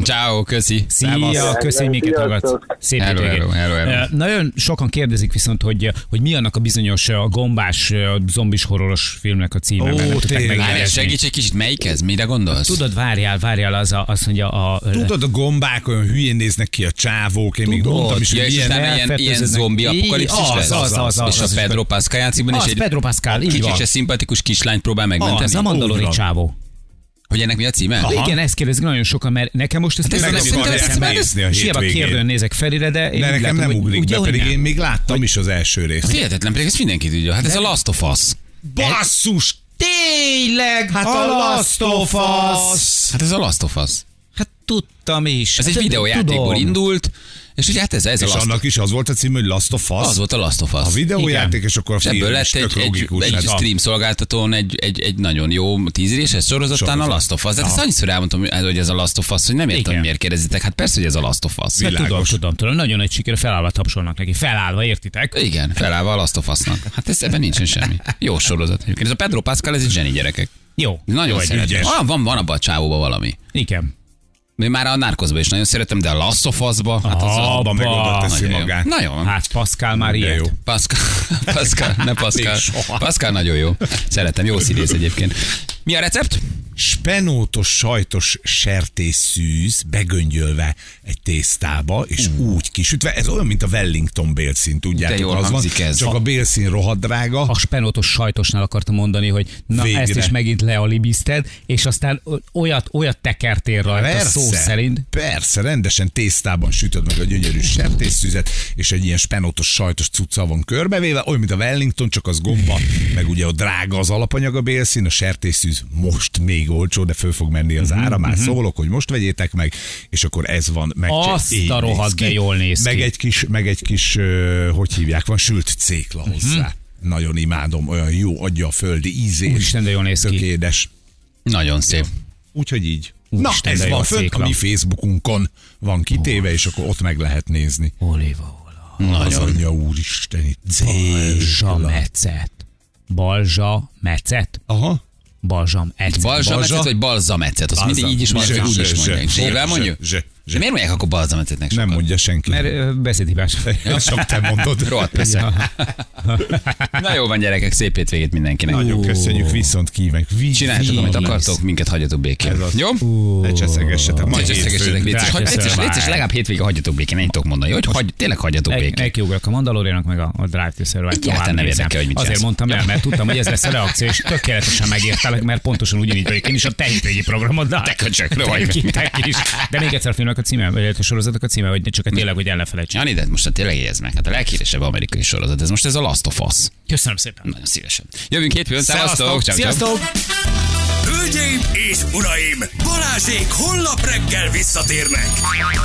[SPEAKER 2] Ciao, köszi.
[SPEAKER 3] Szia,
[SPEAKER 2] Szevasz.
[SPEAKER 3] köszi, hogy minket hallgatsz. Szép
[SPEAKER 2] Hello,
[SPEAKER 3] hétvégét.
[SPEAKER 2] hello, hello, hello.
[SPEAKER 3] Ö, Nagyon sokan kérdezik viszont, hogy, eh, hogy mi annak a bizonyos ö, gombás, ö, zombis horroros filmnek a címe.
[SPEAKER 2] Ó,
[SPEAKER 3] mert nem tudták
[SPEAKER 2] tényleg.
[SPEAKER 3] megjelenni.
[SPEAKER 2] Várjál, segíts egy kicsit, melyik ez? Mire gondolsz?
[SPEAKER 3] Tudod, várjál, várjál, az a, azt mondja a... eh,
[SPEAKER 4] Tudod, a gombák olyan hülyén néznek ki a csávók, én még
[SPEAKER 3] Tudod.
[SPEAKER 4] mondtam is,
[SPEAKER 2] Ja,
[SPEAKER 4] hogy
[SPEAKER 2] és
[SPEAKER 4] ilyen
[SPEAKER 2] utána ilyen, ilyen
[SPEAKER 3] fertőződnek.
[SPEAKER 2] zombi apokalipszis
[SPEAKER 3] Így, az,
[SPEAKER 2] lesz?
[SPEAKER 3] az, az, az,
[SPEAKER 2] És
[SPEAKER 3] az
[SPEAKER 2] a
[SPEAKER 3] is
[SPEAKER 2] Pedro Pascal játszik
[SPEAKER 3] Az
[SPEAKER 2] és egy
[SPEAKER 3] Pedro Pascal, így
[SPEAKER 2] kicsi
[SPEAKER 3] van.
[SPEAKER 2] se szimpatikus kislányt próbál megmenteni.
[SPEAKER 3] Az a mandalori csávó.
[SPEAKER 2] Hogy ennek mi a címe?
[SPEAKER 3] Aha. Igen, ezt kérdezik nagyon sokan, mert nekem most ezt
[SPEAKER 2] Hát ez
[SPEAKER 3] nem
[SPEAKER 2] meg
[SPEAKER 3] jutott
[SPEAKER 2] akarják
[SPEAKER 3] eszembe.
[SPEAKER 4] nézni a
[SPEAKER 3] Hiába
[SPEAKER 4] hétvégén.
[SPEAKER 3] kérdőn nézek Ferire, de én
[SPEAKER 4] De
[SPEAKER 3] úgy
[SPEAKER 4] nekem
[SPEAKER 3] látom,
[SPEAKER 4] nem
[SPEAKER 3] hogy
[SPEAKER 4] ugrik
[SPEAKER 3] ugye,
[SPEAKER 4] be,
[SPEAKER 3] hogy
[SPEAKER 4] pedig
[SPEAKER 3] nem.
[SPEAKER 4] én még láttam is az első
[SPEAKER 2] Hát
[SPEAKER 4] részt.
[SPEAKER 2] Hihetetlen, pedig ezt mindenki tudja. Hát ez a Last of Us.
[SPEAKER 4] Basszus!
[SPEAKER 3] Tényleg, hát a Last of Us.
[SPEAKER 2] Hát ez a Last of Us.
[SPEAKER 3] Hát tudtam is.
[SPEAKER 2] Ez egy
[SPEAKER 3] Hát,
[SPEAKER 2] videójátékból
[SPEAKER 3] tudom.
[SPEAKER 2] indult, és ugye hát ez, ez a
[SPEAKER 4] És
[SPEAKER 2] Last of
[SPEAKER 4] annak is az volt a cím, hogy Last of Us.
[SPEAKER 2] Az volt a Last of Us.
[SPEAKER 4] A videójáték, és akkor a
[SPEAKER 2] És
[SPEAKER 4] film
[SPEAKER 2] ebből
[SPEAKER 4] is
[SPEAKER 2] lett
[SPEAKER 4] tök
[SPEAKER 2] egy, egy,
[SPEAKER 4] logikus.
[SPEAKER 2] egy
[SPEAKER 4] Hát a-
[SPEAKER 2] stream szolgáltatón egy, egy, egy nagyon jó tízréses sorozatán a
[SPEAKER 4] Sorozat.
[SPEAKER 2] Last of Us. Tehát ezt annyiszor elmondtam, hogy ez a Last of Us, hogy nem értem,
[SPEAKER 3] Igen.
[SPEAKER 2] hogy miért kérdezitek. Hát persze, hogy ez a Last of Us.
[SPEAKER 3] Hát tudom,
[SPEAKER 4] Világos.
[SPEAKER 3] tudom, tudom. Nagyon nagy siker, felállva tapsolnak neki. Felállva, értitek?
[SPEAKER 2] Igen, felállva a Last of Us-nak. Hát ez, ebben nincsen semmi. Jó sorozat. Egyébként ez a Pedro Pascal, ez egy zseni gyerekek.
[SPEAKER 3] Jó.
[SPEAKER 2] Nagyon
[SPEAKER 3] Jó,
[SPEAKER 2] szeretem.
[SPEAKER 4] ügyes.
[SPEAKER 2] Van, van, van abban a csávóban valami.
[SPEAKER 3] Igen.
[SPEAKER 2] Én már a Narcosba is nagyon szeretem, de a Last of Us-ba, hát az
[SPEAKER 3] Abba.
[SPEAKER 4] Abban meg oda teszi
[SPEAKER 2] nagyon jó.
[SPEAKER 4] magát.
[SPEAKER 2] Nagyon van.
[SPEAKER 3] Hát Pascal már
[SPEAKER 4] De jó. Hát,
[SPEAKER 3] ilyet.
[SPEAKER 2] Pascal, Pascal, ne Pascal.
[SPEAKER 4] Még soha.
[SPEAKER 2] Pascal nagyon jó. Szeretem, jó színész egyébként. Mi a recept?
[SPEAKER 4] spenótos sajtos sertészűz begöngyölve egy tésztába, és úgy kisütve. Ez olyan, mint a Wellington bélszín, tudjátok,
[SPEAKER 2] De jól
[SPEAKER 4] az van.
[SPEAKER 2] hangzik ez.
[SPEAKER 4] Csak a bélszín rohadt drága.
[SPEAKER 3] A spenótos sajtosnál akartam mondani, hogy na
[SPEAKER 4] Végre.
[SPEAKER 3] ezt is megint lealibizted, és aztán o- olyat, olyat tekertél rajta szó szerint.
[SPEAKER 4] Persze, rendesen tésztában sütöd meg a gyönyörű sertészszüzet, és egy ilyen spenótos sajtos cucca van körbevéve, olyan, mint a Wellington, csak az gomba, meg ugye a drága az alapanyag a bélszín, a sertészszűz most még olcsó, de föl fog menni
[SPEAKER 3] Mhm,
[SPEAKER 4] az ára, már szólok, hogy most vegyétek meg, és akkor ez van meg.
[SPEAKER 3] Azt a rohadt, de jól néz
[SPEAKER 4] meg
[SPEAKER 3] ki.
[SPEAKER 4] Egy kis, meg egy kis, ö, hogy hívják, van sült cékla
[SPEAKER 3] Mhm.
[SPEAKER 4] hozzá. Nagyon imádom, olyan jó, adja a földi ízét.
[SPEAKER 3] Úristen, de jól néz ki.
[SPEAKER 4] Tök édes.
[SPEAKER 2] Nagyon szép.
[SPEAKER 4] Úgyhogy így. Na,
[SPEAKER 3] Úristen, de
[SPEAKER 4] ez
[SPEAKER 3] jó
[SPEAKER 4] van
[SPEAKER 3] a
[SPEAKER 4] fönt, a
[SPEAKER 3] cékla.
[SPEAKER 4] mi Facebookunkon van kitéve, és akkor ott meg lehet nézni.
[SPEAKER 3] Oliva, Ola.
[SPEAKER 4] Az anyja úristen, itt
[SPEAKER 3] Balzsa
[SPEAKER 4] cékla.
[SPEAKER 3] mecet. Balzsa mecet?
[SPEAKER 4] Aha.
[SPEAKER 3] Balzsam ecet.
[SPEAKER 2] Balzsamecet
[SPEAKER 4] Balzsa?
[SPEAKER 2] vagy balzamecet? Azt mindig így is mondják, úgy is mondják. Zsével mondjuk?
[SPEAKER 4] Zse,
[SPEAKER 2] De
[SPEAKER 4] zse.
[SPEAKER 2] miért mondják akkor balzamecetnek
[SPEAKER 4] Nem
[SPEAKER 2] sokan?
[SPEAKER 4] mondja senki.
[SPEAKER 3] Mert ö, beszédhibás.
[SPEAKER 4] Csak te mondod.
[SPEAKER 2] Rohadt persze. Na jó van gyerekek, szép hétvégét mindenkinek.
[SPEAKER 4] Nagyon köszönjük, viszont kívánjuk. Vi-
[SPEAKER 2] Csináljátok, amit
[SPEAKER 4] vi-
[SPEAKER 2] akartok, minket hagyjatok békén.
[SPEAKER 4] Ez az.
[SPEAKER 2] Jó?
[SPEAKER 4] Ne cseszegessetek. Ma
[SPEAKER 2] Majd összegessetek,
[SPEAKER 4] hétfőn.
[SPEAKER 2] létszés,
[SPEAKER 3] Drága
[SPEAKER 2] létszés,
[SPEAKER 3] szöveg.
[SPEAKER 2] létszés, legalább hétvége hagyjatok békén, ennyit tudok mondani, hogy hagy, tényleg hagyjatok
[SPEAKER 3] Egy-
[SPEAKER 2] békén.
[SPEAKER 3] Nekiugrok a Mandaloriannak, meg a, a Drive to Survive.
[SPEAKER 2] Egyáltalán
[SPEAKER 3] tovább
[SPEAKER 2] nem
[SPEAKER 3] nézem.
[SPEAKER 2] érdekel, hogy mit
[SPEAKER 3] Azért
[SPEAKER 2] csinálsz.
[SPEAKER 3] mondtam el, mert tudtam, hogy ez lesz a reakció, és tökéletesen megértelek, mert pontosan ugyanígy vagyok én is a te hétvégi programoddal. Te
[SPEAKER 2] köcsök, rohagy.
[SPEAKER 3] Te is. De még egyszer a filmnek a címe, vagy a sorozatnak a címe, hogy csak tényleg, hogy el ne felejtsük.
[SPEAKER 2] Jani, de most hát tényleg jegyezd meg, hát a leghíresebb amerikai sorozat, ez most ez a Last of Us.
[SPEAKER 3] Köszönöm szépen.
[SPEAKER 2] Nagyon szívesen. Jövünk hétfőn, szevasztok!
[SPEAKER 3] Szevasztok!
[SPEAKER 2] Ciao, ciao.
[SPEAKER 3] Sziasztok!
[SPEAKER 1] Hölgyeim és uraim, Balázsék holnap reggel visszatérnek.